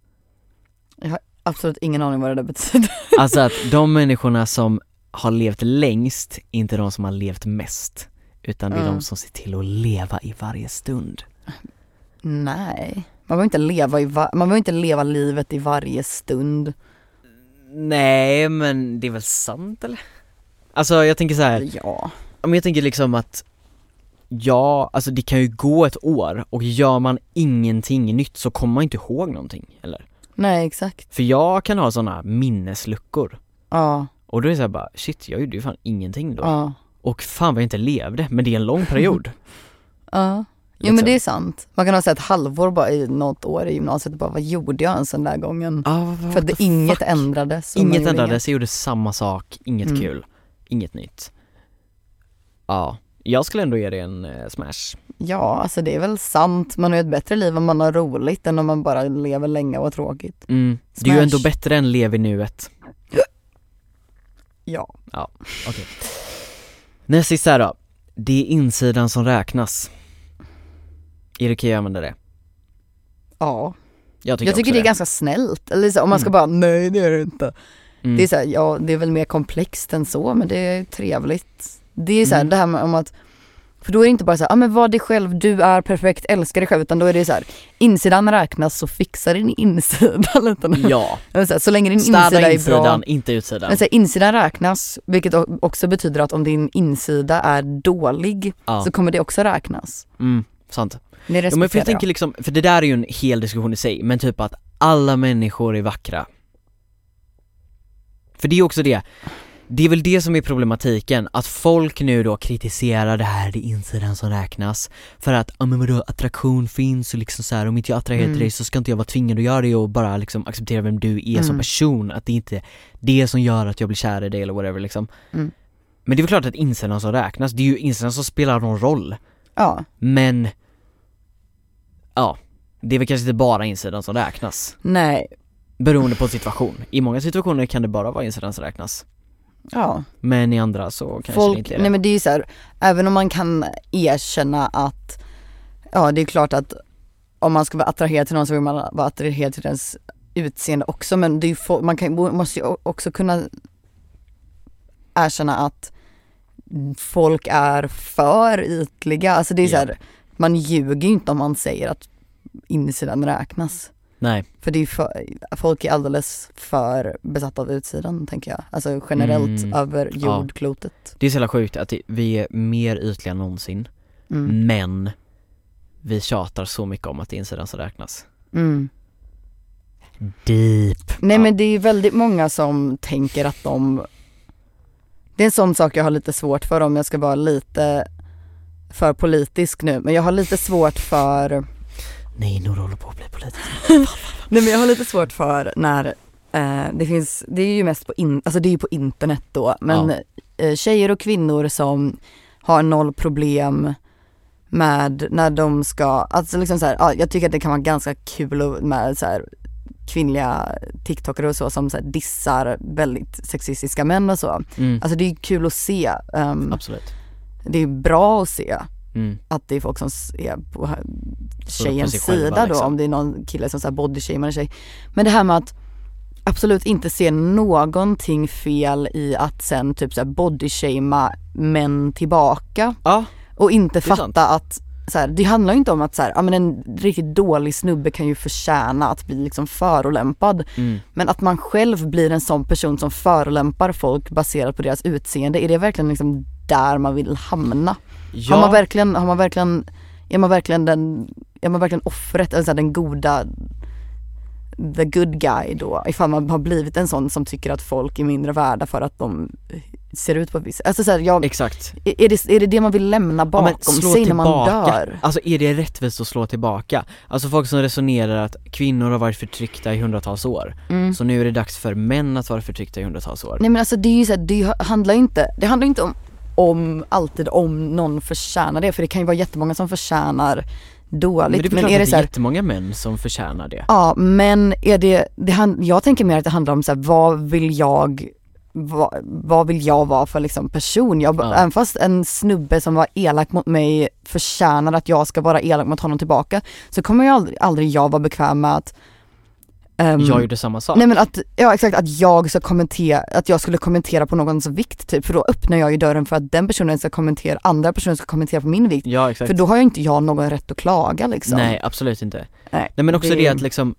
Absolut ingen aning vad det där betyder. Alltså att de människorna som har levt längst, inte de som har levt mest. Utan det är Mm. de som ser till att leva i varje stund. Nej. Man behöver inte leva i va- man behöver inte leva livet i varje stund. Nej men det är väl sant eller? Alltså jag tänker så här. Ja. Ja, men jag tänker liksom att Ja, alltså det kan ju gå ett år och gör man ingenting nytt så kommer man inte ihåg någonting eller? Nej exakt. För jag kan ha sådana minnesluckor Ja. och då är det såhär bara shit, jag gjorde ju fan ingenting då Ja. och fan vad jag inte levde, men det är en lång period Ja. Jo liksom. men det är sant. Man kan ha sett ett halvår bara i något år i gymnasiet och bara vad gjorde jag ens den där gången? Ja, vad- vad- För what att the inget fuck? ändrades. och man Inget gjorde ändrades, jag gjorde samma sak, inget Mm. kul, inget nytt Ja, jag skulle ändå ge det en eh, smash inget. Ja, alltså det är väl sant. Man har ju ett bättre liv om man har roligt än om man bara lever länge och har tråkigt. mm. Det är ju Smash. ändå bättre än lev i nuet Ja. Okej. Näst sista här då. Det är insidan som räknas. Är det okej att använda det? Ja. Jag tycker, Jag tycker också det är ganska snällt. Eller så, om man ska bara, nej det är det inte. Mm. Det är så här, ja det är väl mer komplext än så men det är trevligt. Det är så här, Mm. det här med om att, för då är det inte bara så här, ah, men var dig själv, du är perfekt, älska dig själv. Utan då är det så här, insidan räknas så fixa din insida lite nu. Mm. Ja, Eller Så, här, så länge din städa insida är bra. insidan, inte utsidan. Men så här, insidan räknas, vilket o- också betyder att om din insida är dålig Ja, så kommer det också räknas. mm, sant. Det Ja, men för respekterar jag jag. tänker liksom, för det där är ju en hel diskussion i sig, men typ att alla människor är vackra. För det är också det, det är väl det som är problematiken, att folk nu då kritiserar det här, det är insidan som räknas, för att, ja men vadå, attraktion finns och liksom så här, om inte jag attraherar Mm. till dig så ska inte jag vara tvingad att göra det och bara liksom acceptera vem du är som Mm. person, att det är inte det som gör att jag blir kär i dig eller whatever liksom. Mm. Men det är väl klart att insidan som räknas, det är ju insidan som spelar någon roll. Ja. Men Ja, det är väl kanske inte bara insidan som räknas Nej. Beroende på situation. I många situationer kan det bara vara insidan som räknas Ja. Men i andra så kanske det Folk, inte är nej det. men det är ju så här, även om man kan erkänna att, ja det är klart att om man ska vara attraherad till någon så vill man vara attraherad till dens utseende också men det är ju, fo- man kan, måste ju o- också kunna erkänna att folk är för ytliga, alltså det är så Ja. här, man ljuger ju inte om man säger att insidan räknas. Nej, För det är ju för, folk är alldeles för besatta av utsidan tänker jag, alltså generellt Mm. över jordklotet. det är så jävla sjukt att det- vi är mer ytliga än någonsin Mm. Men vi tjatar så mycket om att det är insidan som räknas Mm. Deep Nej Ja. men det är väldigt många som tänker att de Det är en sån sak jag har lite svårt för om jag ska vara lite för politisk nu men jag har lite svårt för Nej, Nora håller på att bli politisk Nej men jag har lite svårt för när eh, det finns, det är ju mest på, in, alltså det är ju på internet då, men eh, tjejer och kvinnor som har noll problem med när de ska, alltså liksom så här, ja, jag tycker att det kan vara ganska kul att- med så här, kvinnliga tiktokare och så som så här, dissar väldigt sexistiska män och så. mm, Alltså det är ju kul att se, ehm, Absolut det är bra att se mm, att det är folk som s- är på här- sig tjejens själva, sida då liksom. om det är någon kille som så här bodyshamear en tjej. Men det här med att absolut inte se någonting fel i att sen typ så här bodyshamea män tillbaka Ja, och inte är sant. fatta att så här, det handlar ju inte om att så här, ja, men en riktigt dålig snubbe kan ju förtjäna att bli liksom förolämpad. mm, Men att man själv blir en sån person som förolämpar folk baserat på deras utseende, är det verkligen liksom där man vill hamna? ja Har man verkligen, har man verkligen, är man verkligen den, är man verkligen offret eller så här, den goda, the good guy då? Ifall man har blivit en sån som tycker att folk är mindre värda för att de ser ut på ett visst Alltså så här, jag, Exakt. är, det, är det det man vill lämna Ja, men bakom slå sig när man tillbaka. dör? Alltså är det rättvist att slå tillbaka? Alltså folk som resonerar att kvinnor har varit förtryckta i hundratals år, Mm. så nu är det dags för män att vara förtryckta i hundratals år. Nej men alltså det är ju så här, det handlar ju inte, det handlar ju inte om, om alltid om någon förtjänar det för det kan ju vara jättemånga som förtjänar men dåligt. det är, Men, väl klart är det att så det är här, jättemånga män som förtjänar det. ja men är det, det han, jag tänker mer att det handlar om så här, vad vill jag vad, vad vill jag vara för liksom person? Jag, Ja. Även fast en snubbe som var elak mot mig förtjänar att jag ska vara elak mot honom tillbaka så kommer jag aldrig, aldrig jag vara bekväm med att ehm, Jag gjorde samma sak. Nej men att, ja exakt, att jag ska kommentera, att jag skulle kommentera på någons vikt typ, för då öppnar jag ju dörren för att den personen ska kommentera, andra personen ska kommentera på min vikt. ja exakt. För då har ju inte jag någon rätt att klaga liksom. Nej absolut inte. Nej, Nej men också det det är- att liksom,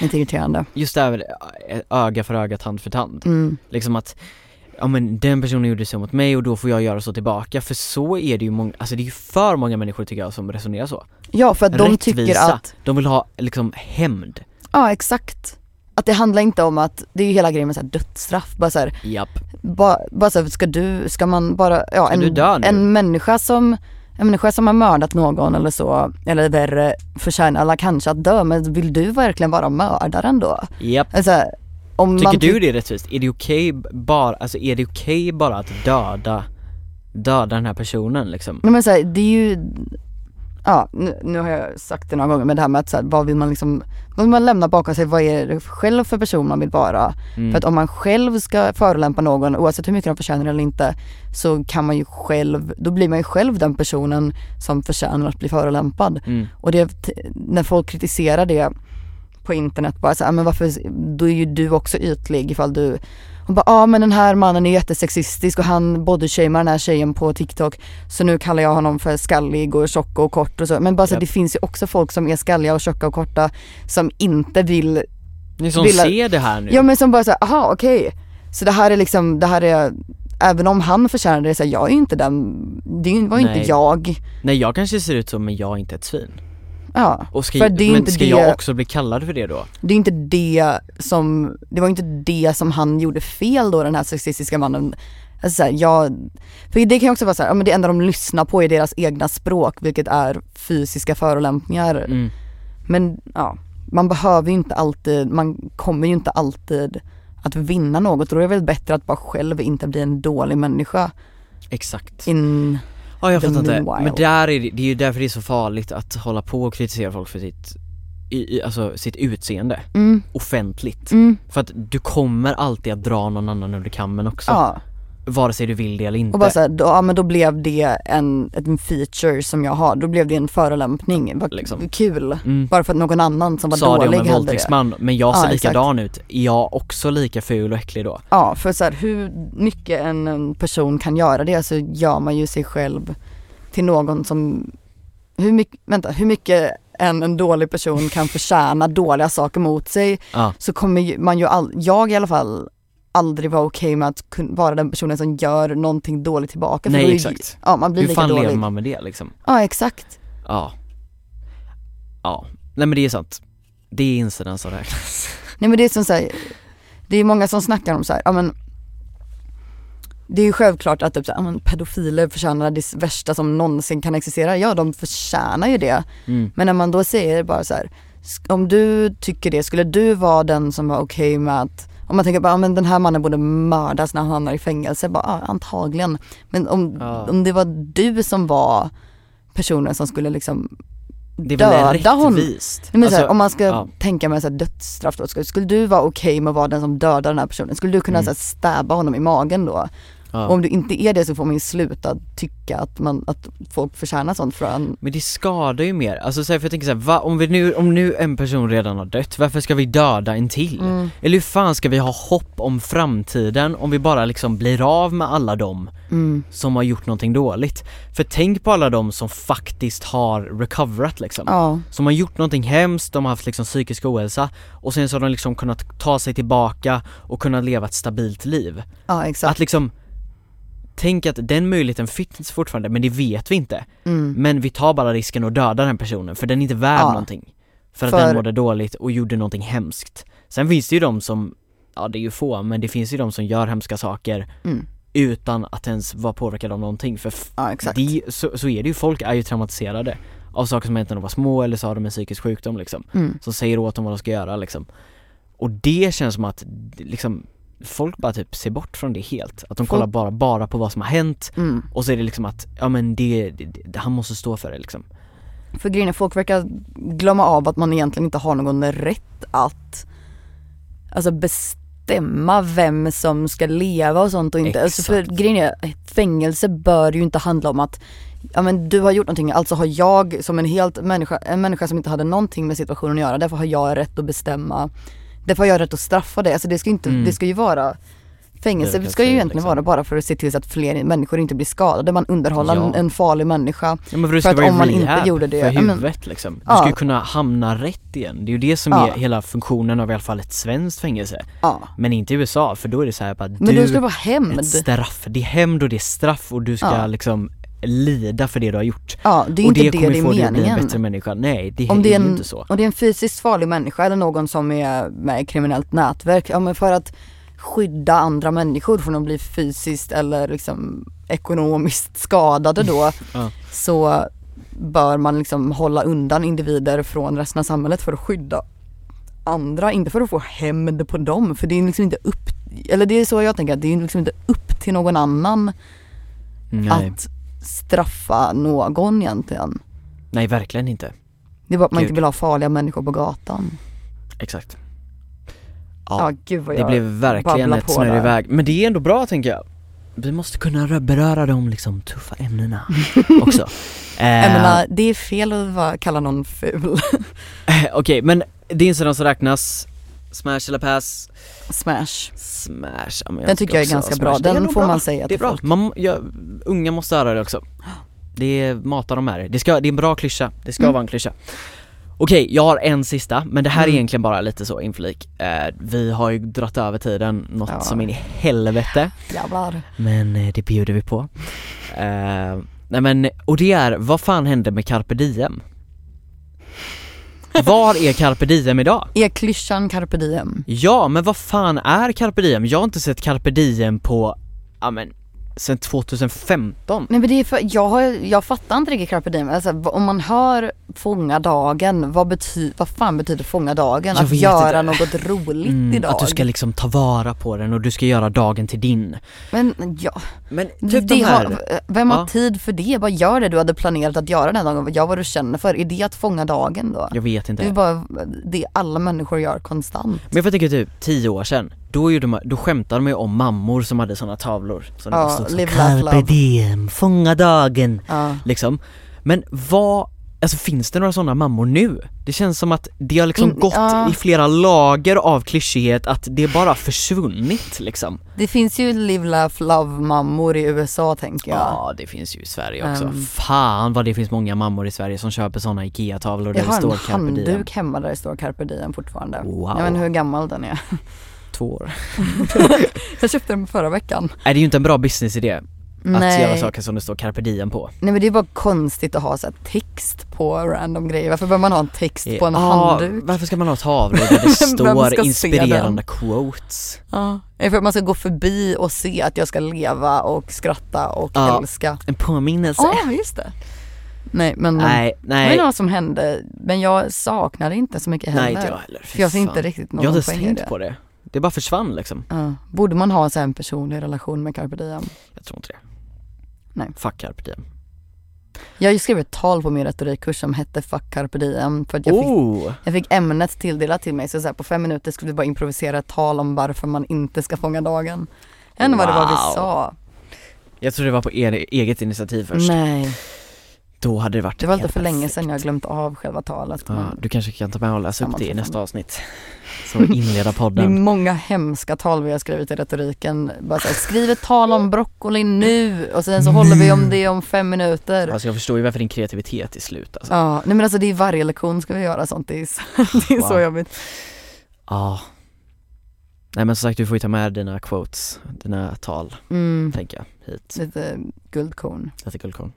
Lite irriterande. just det här med ö- öga för öga, tand för tand. Mm. Liksom att, ja men den personen gjorde så mot mig och då får jag göra så tillbaka. För så är det ju många, alltså det är ju för många människor tycker jag som resonerar så. Ja för att de Rättvisa. tycker att, De vill ha liksom hämnd. ja exakt. Att det handlar inte om att, det är ju hela grejen med så här dödsstraff, bara såhär, Japp. bara, bara så här, ska du, ska man bara, ja du en, dö nu? en människa som en människa som har mördat någon eller så, eller värre, förtjänar alla kanske att dö men vill du verkligen vara mördaren då? Japp. Alltså, om Tycker man du det är rättvist? Är det okej bara, alltså är det okej bara att döda, döda den här personen liksom? Nej men såhär, det är ju, ja nu, nu har jag sagt det några gånger men det här med att så här, vad vill man liksom, vad vill man lämna bakom sig, vad är det själv för person man vill vara? Mm. För att om man själv ska förolämpa någon oavsett hur mycket de förtjänar eller inte så kan man ju själv, då blir man ju själv den personen som förtjänar att bli förolämpad. Mm. Och det, när folk kritiserar det på internet bara så här, "Ah, men varför, då är ju du också ytlig ifall du hon bara, ja ah, men den här mannen är jättesexistisk och han bodyshamear den här tjejen på TikTok så nu kallar jag honom för skallig och tjock och kort och så. Men bara så här, Japp. det finns ju också folk som är skalliga och tjocka och korta som inte vill, Ni som vill- ser det här nu, ja men som bara så här, aha okej. Så det här är liksom, det här är, även om han förtjänar det så här, jag är ju inte den, det var ju Nej. inte jag. nej jag kanske ser ut så men jag är inte ett svin. Ja. Och ska, För det är men inte ska det- jag också bli kallad för det då? Det är inte det som, det var inte det som han gjorde fel då den här sexistiska mannen. Alltså så här, jag, för det kan ju också vara så här, ja men det enda de lyssnar på är deras egna språk vilket är fysiska förolämpningar. Mm. Men ja, man behöver ju inte alltid, man kommer ju inte alltid att vinna något. Då är det väl bättre att bara själv inte bli en dålig människa. Exakt. In, Ja jag The fattar inte. meanwhile. Men där är det, det är ju därför det är så farligt att hålla på och kritisera folk för sitt, i, i, alltså sitt utseende mm, offentligt. mm, För att du kommer alltid att dra någon annan under kammen också. ja. Vare sig du vill det eller inte. Och bara såhär, då, ja men då blev det en, en feature som jag har, då blev det en förolämpning, vad Liksom. kul. Mm. Bara för att någon annan som var Sa det dålig om en hade det. våldtäktsman, men jag ser Ja, exakt. likadan ut. Är jag också lika ful och äcklig då? Ja, för såhär hur mycket en, en person kan göra det så gör man ju sig själv till någon som, hur mycket, vänta, hur mycket en, en dålig person kan förtjäna dåliga saker mot sig Ja. så kommer ju- man ju, all, jag i alla fall, aldrig vara okej med att kun, vara den personen som gör någonting dåligt tillbaka. För Nej, då är ju- exakt. Ja, man blir Hur lika fan dålig. lever man med det liksom? Ja, exakt. Ja. Ja. Nej men det är sant. Det är insidan som räknas. Nej men det är som så här, det är många som snackar om så här, ja men det är ju självklart att typ så här, ja, men pedofiler förtjänar det värsta som någonsin kan existera. Ja de förtjänar ju det. Mm. Men när man då säger bara så här, sk- om du tycker det, skulle du vara den som var okej med att, om man tänker bara, ja, men den här mannen borde mördas när han hamnar i fängelse, bara ja, antagligen. Men om, Ja. om det var du som var personen som skulle liksom Det är väl Döda hon. rättvist? Nej, Men så Alltså, här, om man ska ja. tänka med så här dödsstraff då, skulle, skulle du vara okej med att vara den som dödar den här personen? Skulle du kunna Mm. så här, stäba honom i magen då? ja. Och om du inte är det så får man ju sluta tycka att, man, att folk förtjänar sånt från Men det skadar ju mer, alltså så här, för jag tänker såhär, va, om, vi nu, om nu en person redan har dött, varför ska vi döda en till? Mm. Eller hur fan ska vi ha hopp om framtiden om vi bara liksom blir av med alla dem mm. som har gjort någonting dåligt? För tänk på alla dem som faktiskt har recoverat liksom. Ja, Som har gjort någonting hemskt, de har haft liksom psykisk ohälsa och sen så har de liksom kunnat ta sig tillbaka och kunnat leva ett stabilt liv. ja Att exakt. liksom, tänk att den möjligheten finns fortfarande men det vet vi inte. Mm. Men vi tar bara risken att döda den personen för den är inte värd Ja. någonting. För att För- den mådde dåligt och gjorde någonting hemskt. Sen finns det ju de som, ja det är ju få, men det finns ju de som gör hemska saker Mm. utan att ens vara påverkad av någonting för f- Ja exakt. de, så, så är det ju, folk är ju traumatiserade av saker som hänt när de var små eller så har de en psykisk sjukdom liksom, Mm. som säger åt dem vad de ska göra liksom. Och det känns som att liksom, folk bara typ ser bort från det helt, att de Folk- kollar bara, bara på vad som har hänt Mm. och så är det liksom att, ja men det, det, det han måste stå för det liksom. För grejen är, folk verkar glömma av att man egentligen inte har någon rätt att alltså bestämma vem som ska leva och sånt och inte. Alltså för Exakt. grejen är, ett fängelse bör ju inte handla om att ja men du har gjort någonting, alltså har jag som en helt människa, en människa som inte hade någonting med situationen att göra, därför har jag rätt att bestämma, därför har jag rätt att straffa dig. Alltså det ska, ju inte, Mm. det ska ju vara Fängelse Det är ska ju okej, egentligen liksom. vara bara för att se till så att fler människor inte blir skadade. Man underhåller Ja. en farlig människa. Ja, men för det För ska att vara om man inte rehab gjorde det- för ja, men- huvudet liksom. Du Ja. ska ju kunna hamna rätt igen. Det är ju det som Ja. är hela funktionen av i alla fall ett svenskt fängelse. Ja. Men inte i USA, för då är det så här bara Men du, då ska det vara hämnd. ett straff. Det är hämnd och det är straff och du ska Ja. liksom lida för det du har gjort. Ja, det är ju och inte det det kommer är få dig att bli en meningen. bättre människa. Nej, det Om är, det är ju en- inte så. Och det är en fysiskt farlig människa eller någon som är med i kriminellt nätverk, ja men för att skydda andra människor från att bli fysiskt eller liksom ekonomiskt skadade då, Ja. så bör man liksom hålla undan individer från resten av samhället för att skydda andra, inte för att få hämnd på dem, för det är liksom inte upp, eller det är så jag tänker, att det är liksom inte upp till någon annan Nej, att straffa någon egentligen. nej verkligen inte. Det är bara att man inte Gud. vill ha farliga människor på gatan. Exakt. Ja, Ja, gud vad det jag... blev verkligen babblar ett på snöre där. iväg. Men det är ändå bra tänker jag. Vi måste kunna rö- beröra de liksom tuffa ämnena också. Jag Eh, menar, det är fel att vara, kalla någon ful. Okej, men det är inte sådant som räknas Smash eller pass? Smash. Smash, ja, men Den tycker jag är också ha ganska smash. bra. Det är Den nog får bra. man säga Det är till bra, folk. man, ja, unga måste höra det också Det matar de med det, det, ska, det är en bra klyscha, det ska Mm. vara en klyscha Okej, jag har en sista, men det här är Mm. egentligen bara lite så inflik eh, Vi har ju dragit över tiden något Ja. som in i helvete Jävlar. Men eh, det bjuder vi på eh, Nej men, och det är, vad fan hände med carpe diem? Var är carpe diem idag? Är klyschan carpe diem? Ja, men vad fan är carpe diem? Jag har inte sett carpe diem på, ja men, sen 2015 Nej men det är för, jag, har, jag fattar inte riktigt carpe diem. Alltså, v- om man hör fånga dagen, vad, bety, vad fan betyder fånga dagen? Jag Att vet göra inte. något roligt Mm, idag. Att du ska liksom ta vara på den och du ska göra dagen till din. Men ja, Men typ Mm, det de här, har, eh, vem har Ja. tid för det? Bara gör det du hade planerat att göra den här dagen. Gör vad du känner för. Är det att fånga dagen då? jag vet inte. Det är bara det alla människor gör konstant. Men jag tänker typ tio år sedan, då, gjorde man, då skämtade man ju om mammor som hade sådana tavlor. Som Ja, det stod så, live, laugh, Carpe love." diem, fånga dagen, Ja. liksom. Men vad, alltså finns det några sådana mammor nu? Det känns som att det har liksom In- gått Mm, ja. i flera lager av klyschighet, att det bara har försvunnit liksom. Det finns ju live, laugh, love mammor i USA tänker Ja. jag. det finns ju i Sverige också. Ehm. Fan vad det finns många mammor i Sverige som köper sådana IKEA-tavlor där jag det har står en carpe diem. handduk hemma där det står carpe diem fortfarande. Wow, Jag vet inte hur gammal den är. två år. Jag köpte den förra veckan. Är det ju inte en bra businessidé att göra Nej. saker som det står carpe diem på? Nej men det är bara konstigt att ha så här text på random grejer. Varför behöver man ha en text på en Ja, handduk? Varför ska man ha tavlor där det Vem ska står se inspirerande quotes? Ja. Det är för att man ska gå förbi och se att jag ska leva och skratta och Ja. älska. En påminnelse? Ja, just det. Nej men Nej, det var nej, ju något som hände. Men jag saknade inte så mycket heller. nej inte jag heller. Fy För jag ser fan. inte riktigt någon Jag har inte poäng i det. tänkt på det. Det bara försvann liksom. Ja. Borde man ha en sån här personlig relation med carpe diem? Jag tror inte det. Nej. Fuck carpe diem. Jag har ju skrivit ett tal på min retorikkurs som hette Fuck carpe diem för att jag, fick, Oh! jag fick ämnet tilldelat till mig så, så här, på fem minuter skulle vi bara improvisera ett tal om varför man inte ska fånga dagen. Än vad det var vi Wow. sa. Jag tror det var på er, eget initiativ först. Nej, Då hade det varit det var lite helt för länge perfekt. sedan jag har glömt av själva talet. Mm. Ja, men du kanske kan ta med och läsa upp det i Sammanträffande. nästa avsnitt. Så inleda Det är podden. många hemska tal vi har skrivit i retoriken. Bara så här, skriv ett tal om broccoli nu och sen så håller vi om det om fem minuter. Alltså jag förstår ju varför din kreativitet är slut alltså. Ja, nej men alltså det är varje lektion ska vi göra sånt. Det är så, det är så Wow. jobbigt. Ja. Nej men som sagt du får ju ta med dina quotes, dina tal, Mm, tänker jag, hit. lite guldkorn. Lite guldkorn.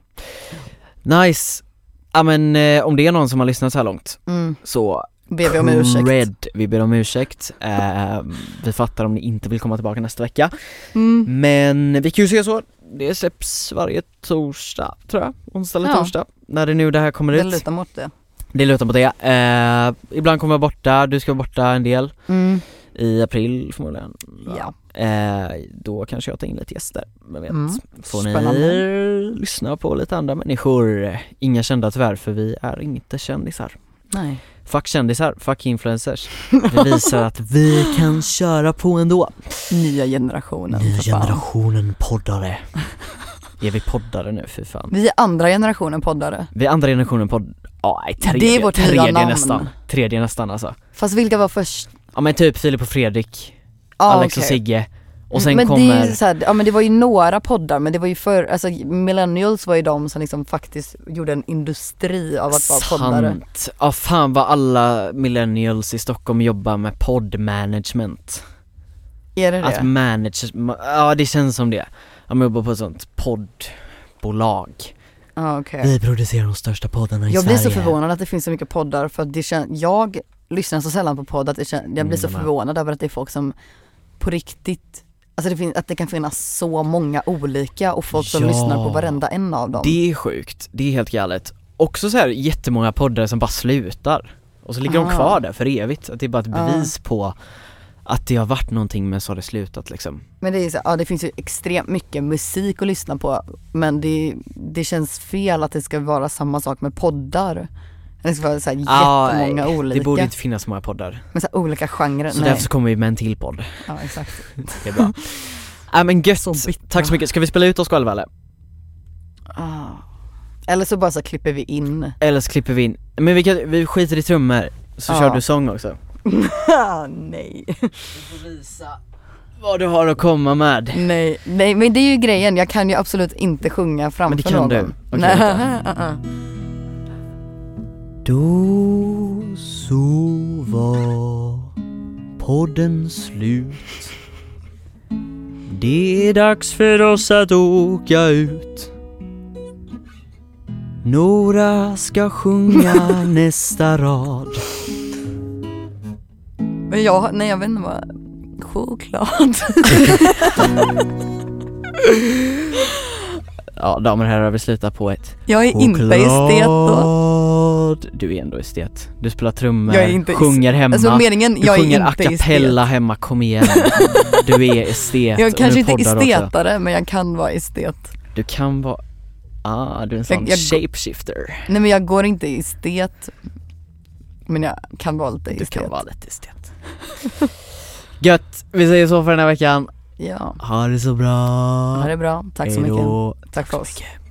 Nice! Ja men eh, om det är någon som har lyssnat så här långt Mm. så Ber vi om ursäkt. Cred. Vi ber om ursäkt. Eh, vi fattar om ni inte vill komma tillbaka nästa vecka. Mm. Men vi kan ju säga så, det släpps varje torsdag tror jag, onsdag eller Ja. torsdag. När det nu det här kommer Det ut. lutar mot det. Det lutar på det. Eh, ibland kommer jag borta, du ska vara borta en del Mm. i april förmodligen. Ja. Eh, då kanske jag tar in lite gäster, vem vet. Mm. Får Spännande. ni lyssna på lite andra människor. Inga kända tyvärr för vi är inte kändisar. Nej. Fuck kändisar, fuck influencers. Det visar att vi kan köra på ändå. Nya generationen. Nya för fan. generationen poddare. Är vi poddare nu för fan? Vi är andra generationen poddare. Vi är andra generationen podd... Ja, nej, tredje, Det är vårt nya tredje namn. nästan. Tredje nästan alltså. Fast vilka var först? Ja men typ Filip och Fredrik, Ja, Alex och Ah, okej. Mm, Sigge. Och sen men det är kommer... ju så här, ja men det var ju några poddar men det var ju för alltså millennials var ju de som liksom faktiskt gjorde en industri av att vara poddare. Sant. Ja fan vad alla millennials i Stockholm jobbar med poddmanagement. Är det Att det? manage, ma- ja det känns som det. De jobbar på ett sånt poddbolag. Ja okej. Vi producerar de största poddarna i Jag blir Sverige. så förvånad att det finns så mycket poddar för att det känns, jag lyssnar så sällan på podd att det känns, jag blir så Mm, men- förvånad över att det är folk som på riktigt Alltså det finns, att det kan finnas så många olika och folk som Ja. lyssnar på varenda en av dem. Det är sjukt, det är helt galet. Också så här jättemånga poddar som bara slutar. Och så ligger de Ah. kvar där för evigt. Att det är bara ett Ah. bevis på att det har varit någonting men så har det slutat liksom. Men det är ju så, ja det finns ju extremt mycket musik att lyssna på men det, det känns fel att det ska vara samma sak med poddar. Det ska vara så här Ja, jättemånga olika, Ah, Det borde inte finnas så många poddar. men så här olika genrer. Så Nej. därför så kommer vi med en till podd. Ja exakt. Det är bra. Nej men gött, Så bittra. tack så mycket. Ska vi spela ut oss själva eller? Ah. Eller så bara så klipper vi in. Eller så klipper vi in, men vi, kan, vi skiter i trummor, så Ja. kör du sång också Ah, nej. Visa vad du har att komma med nej. Nej men det är ju grejen, jag kan ju absolut inte sjunga framför Men det kan någon. du, Okej, nej. vänta. Då så var podden slut Det är dags för oss att åka ut Några ska sjunga nästa rad Men jag, nej jag vet inte vad, choklad. Ja damer och herrar, vi slutar på ett Jag är inte estet då. Choklad. Du är ändå estet. Du spelar trummor, Jag är inte sjunger hemma, Alltså meningen, du jag är sjunger a inte estet. cappella hemma, kom igen. Du är estet Jag och kanske du inte är poddar Också. estetare men jag kan vara estet. Du kan vara, ah du är en sån Jag- jag- shapeshifter. Nej men jag går inte i estet. Men jag kan vara lite Du estet. kan vara lite estet. Gött, vi säger så för den här veckan. Ja, Ha det så bra. ha det bra. Tack så mycket. Hejdå. Tack för oss. mycket.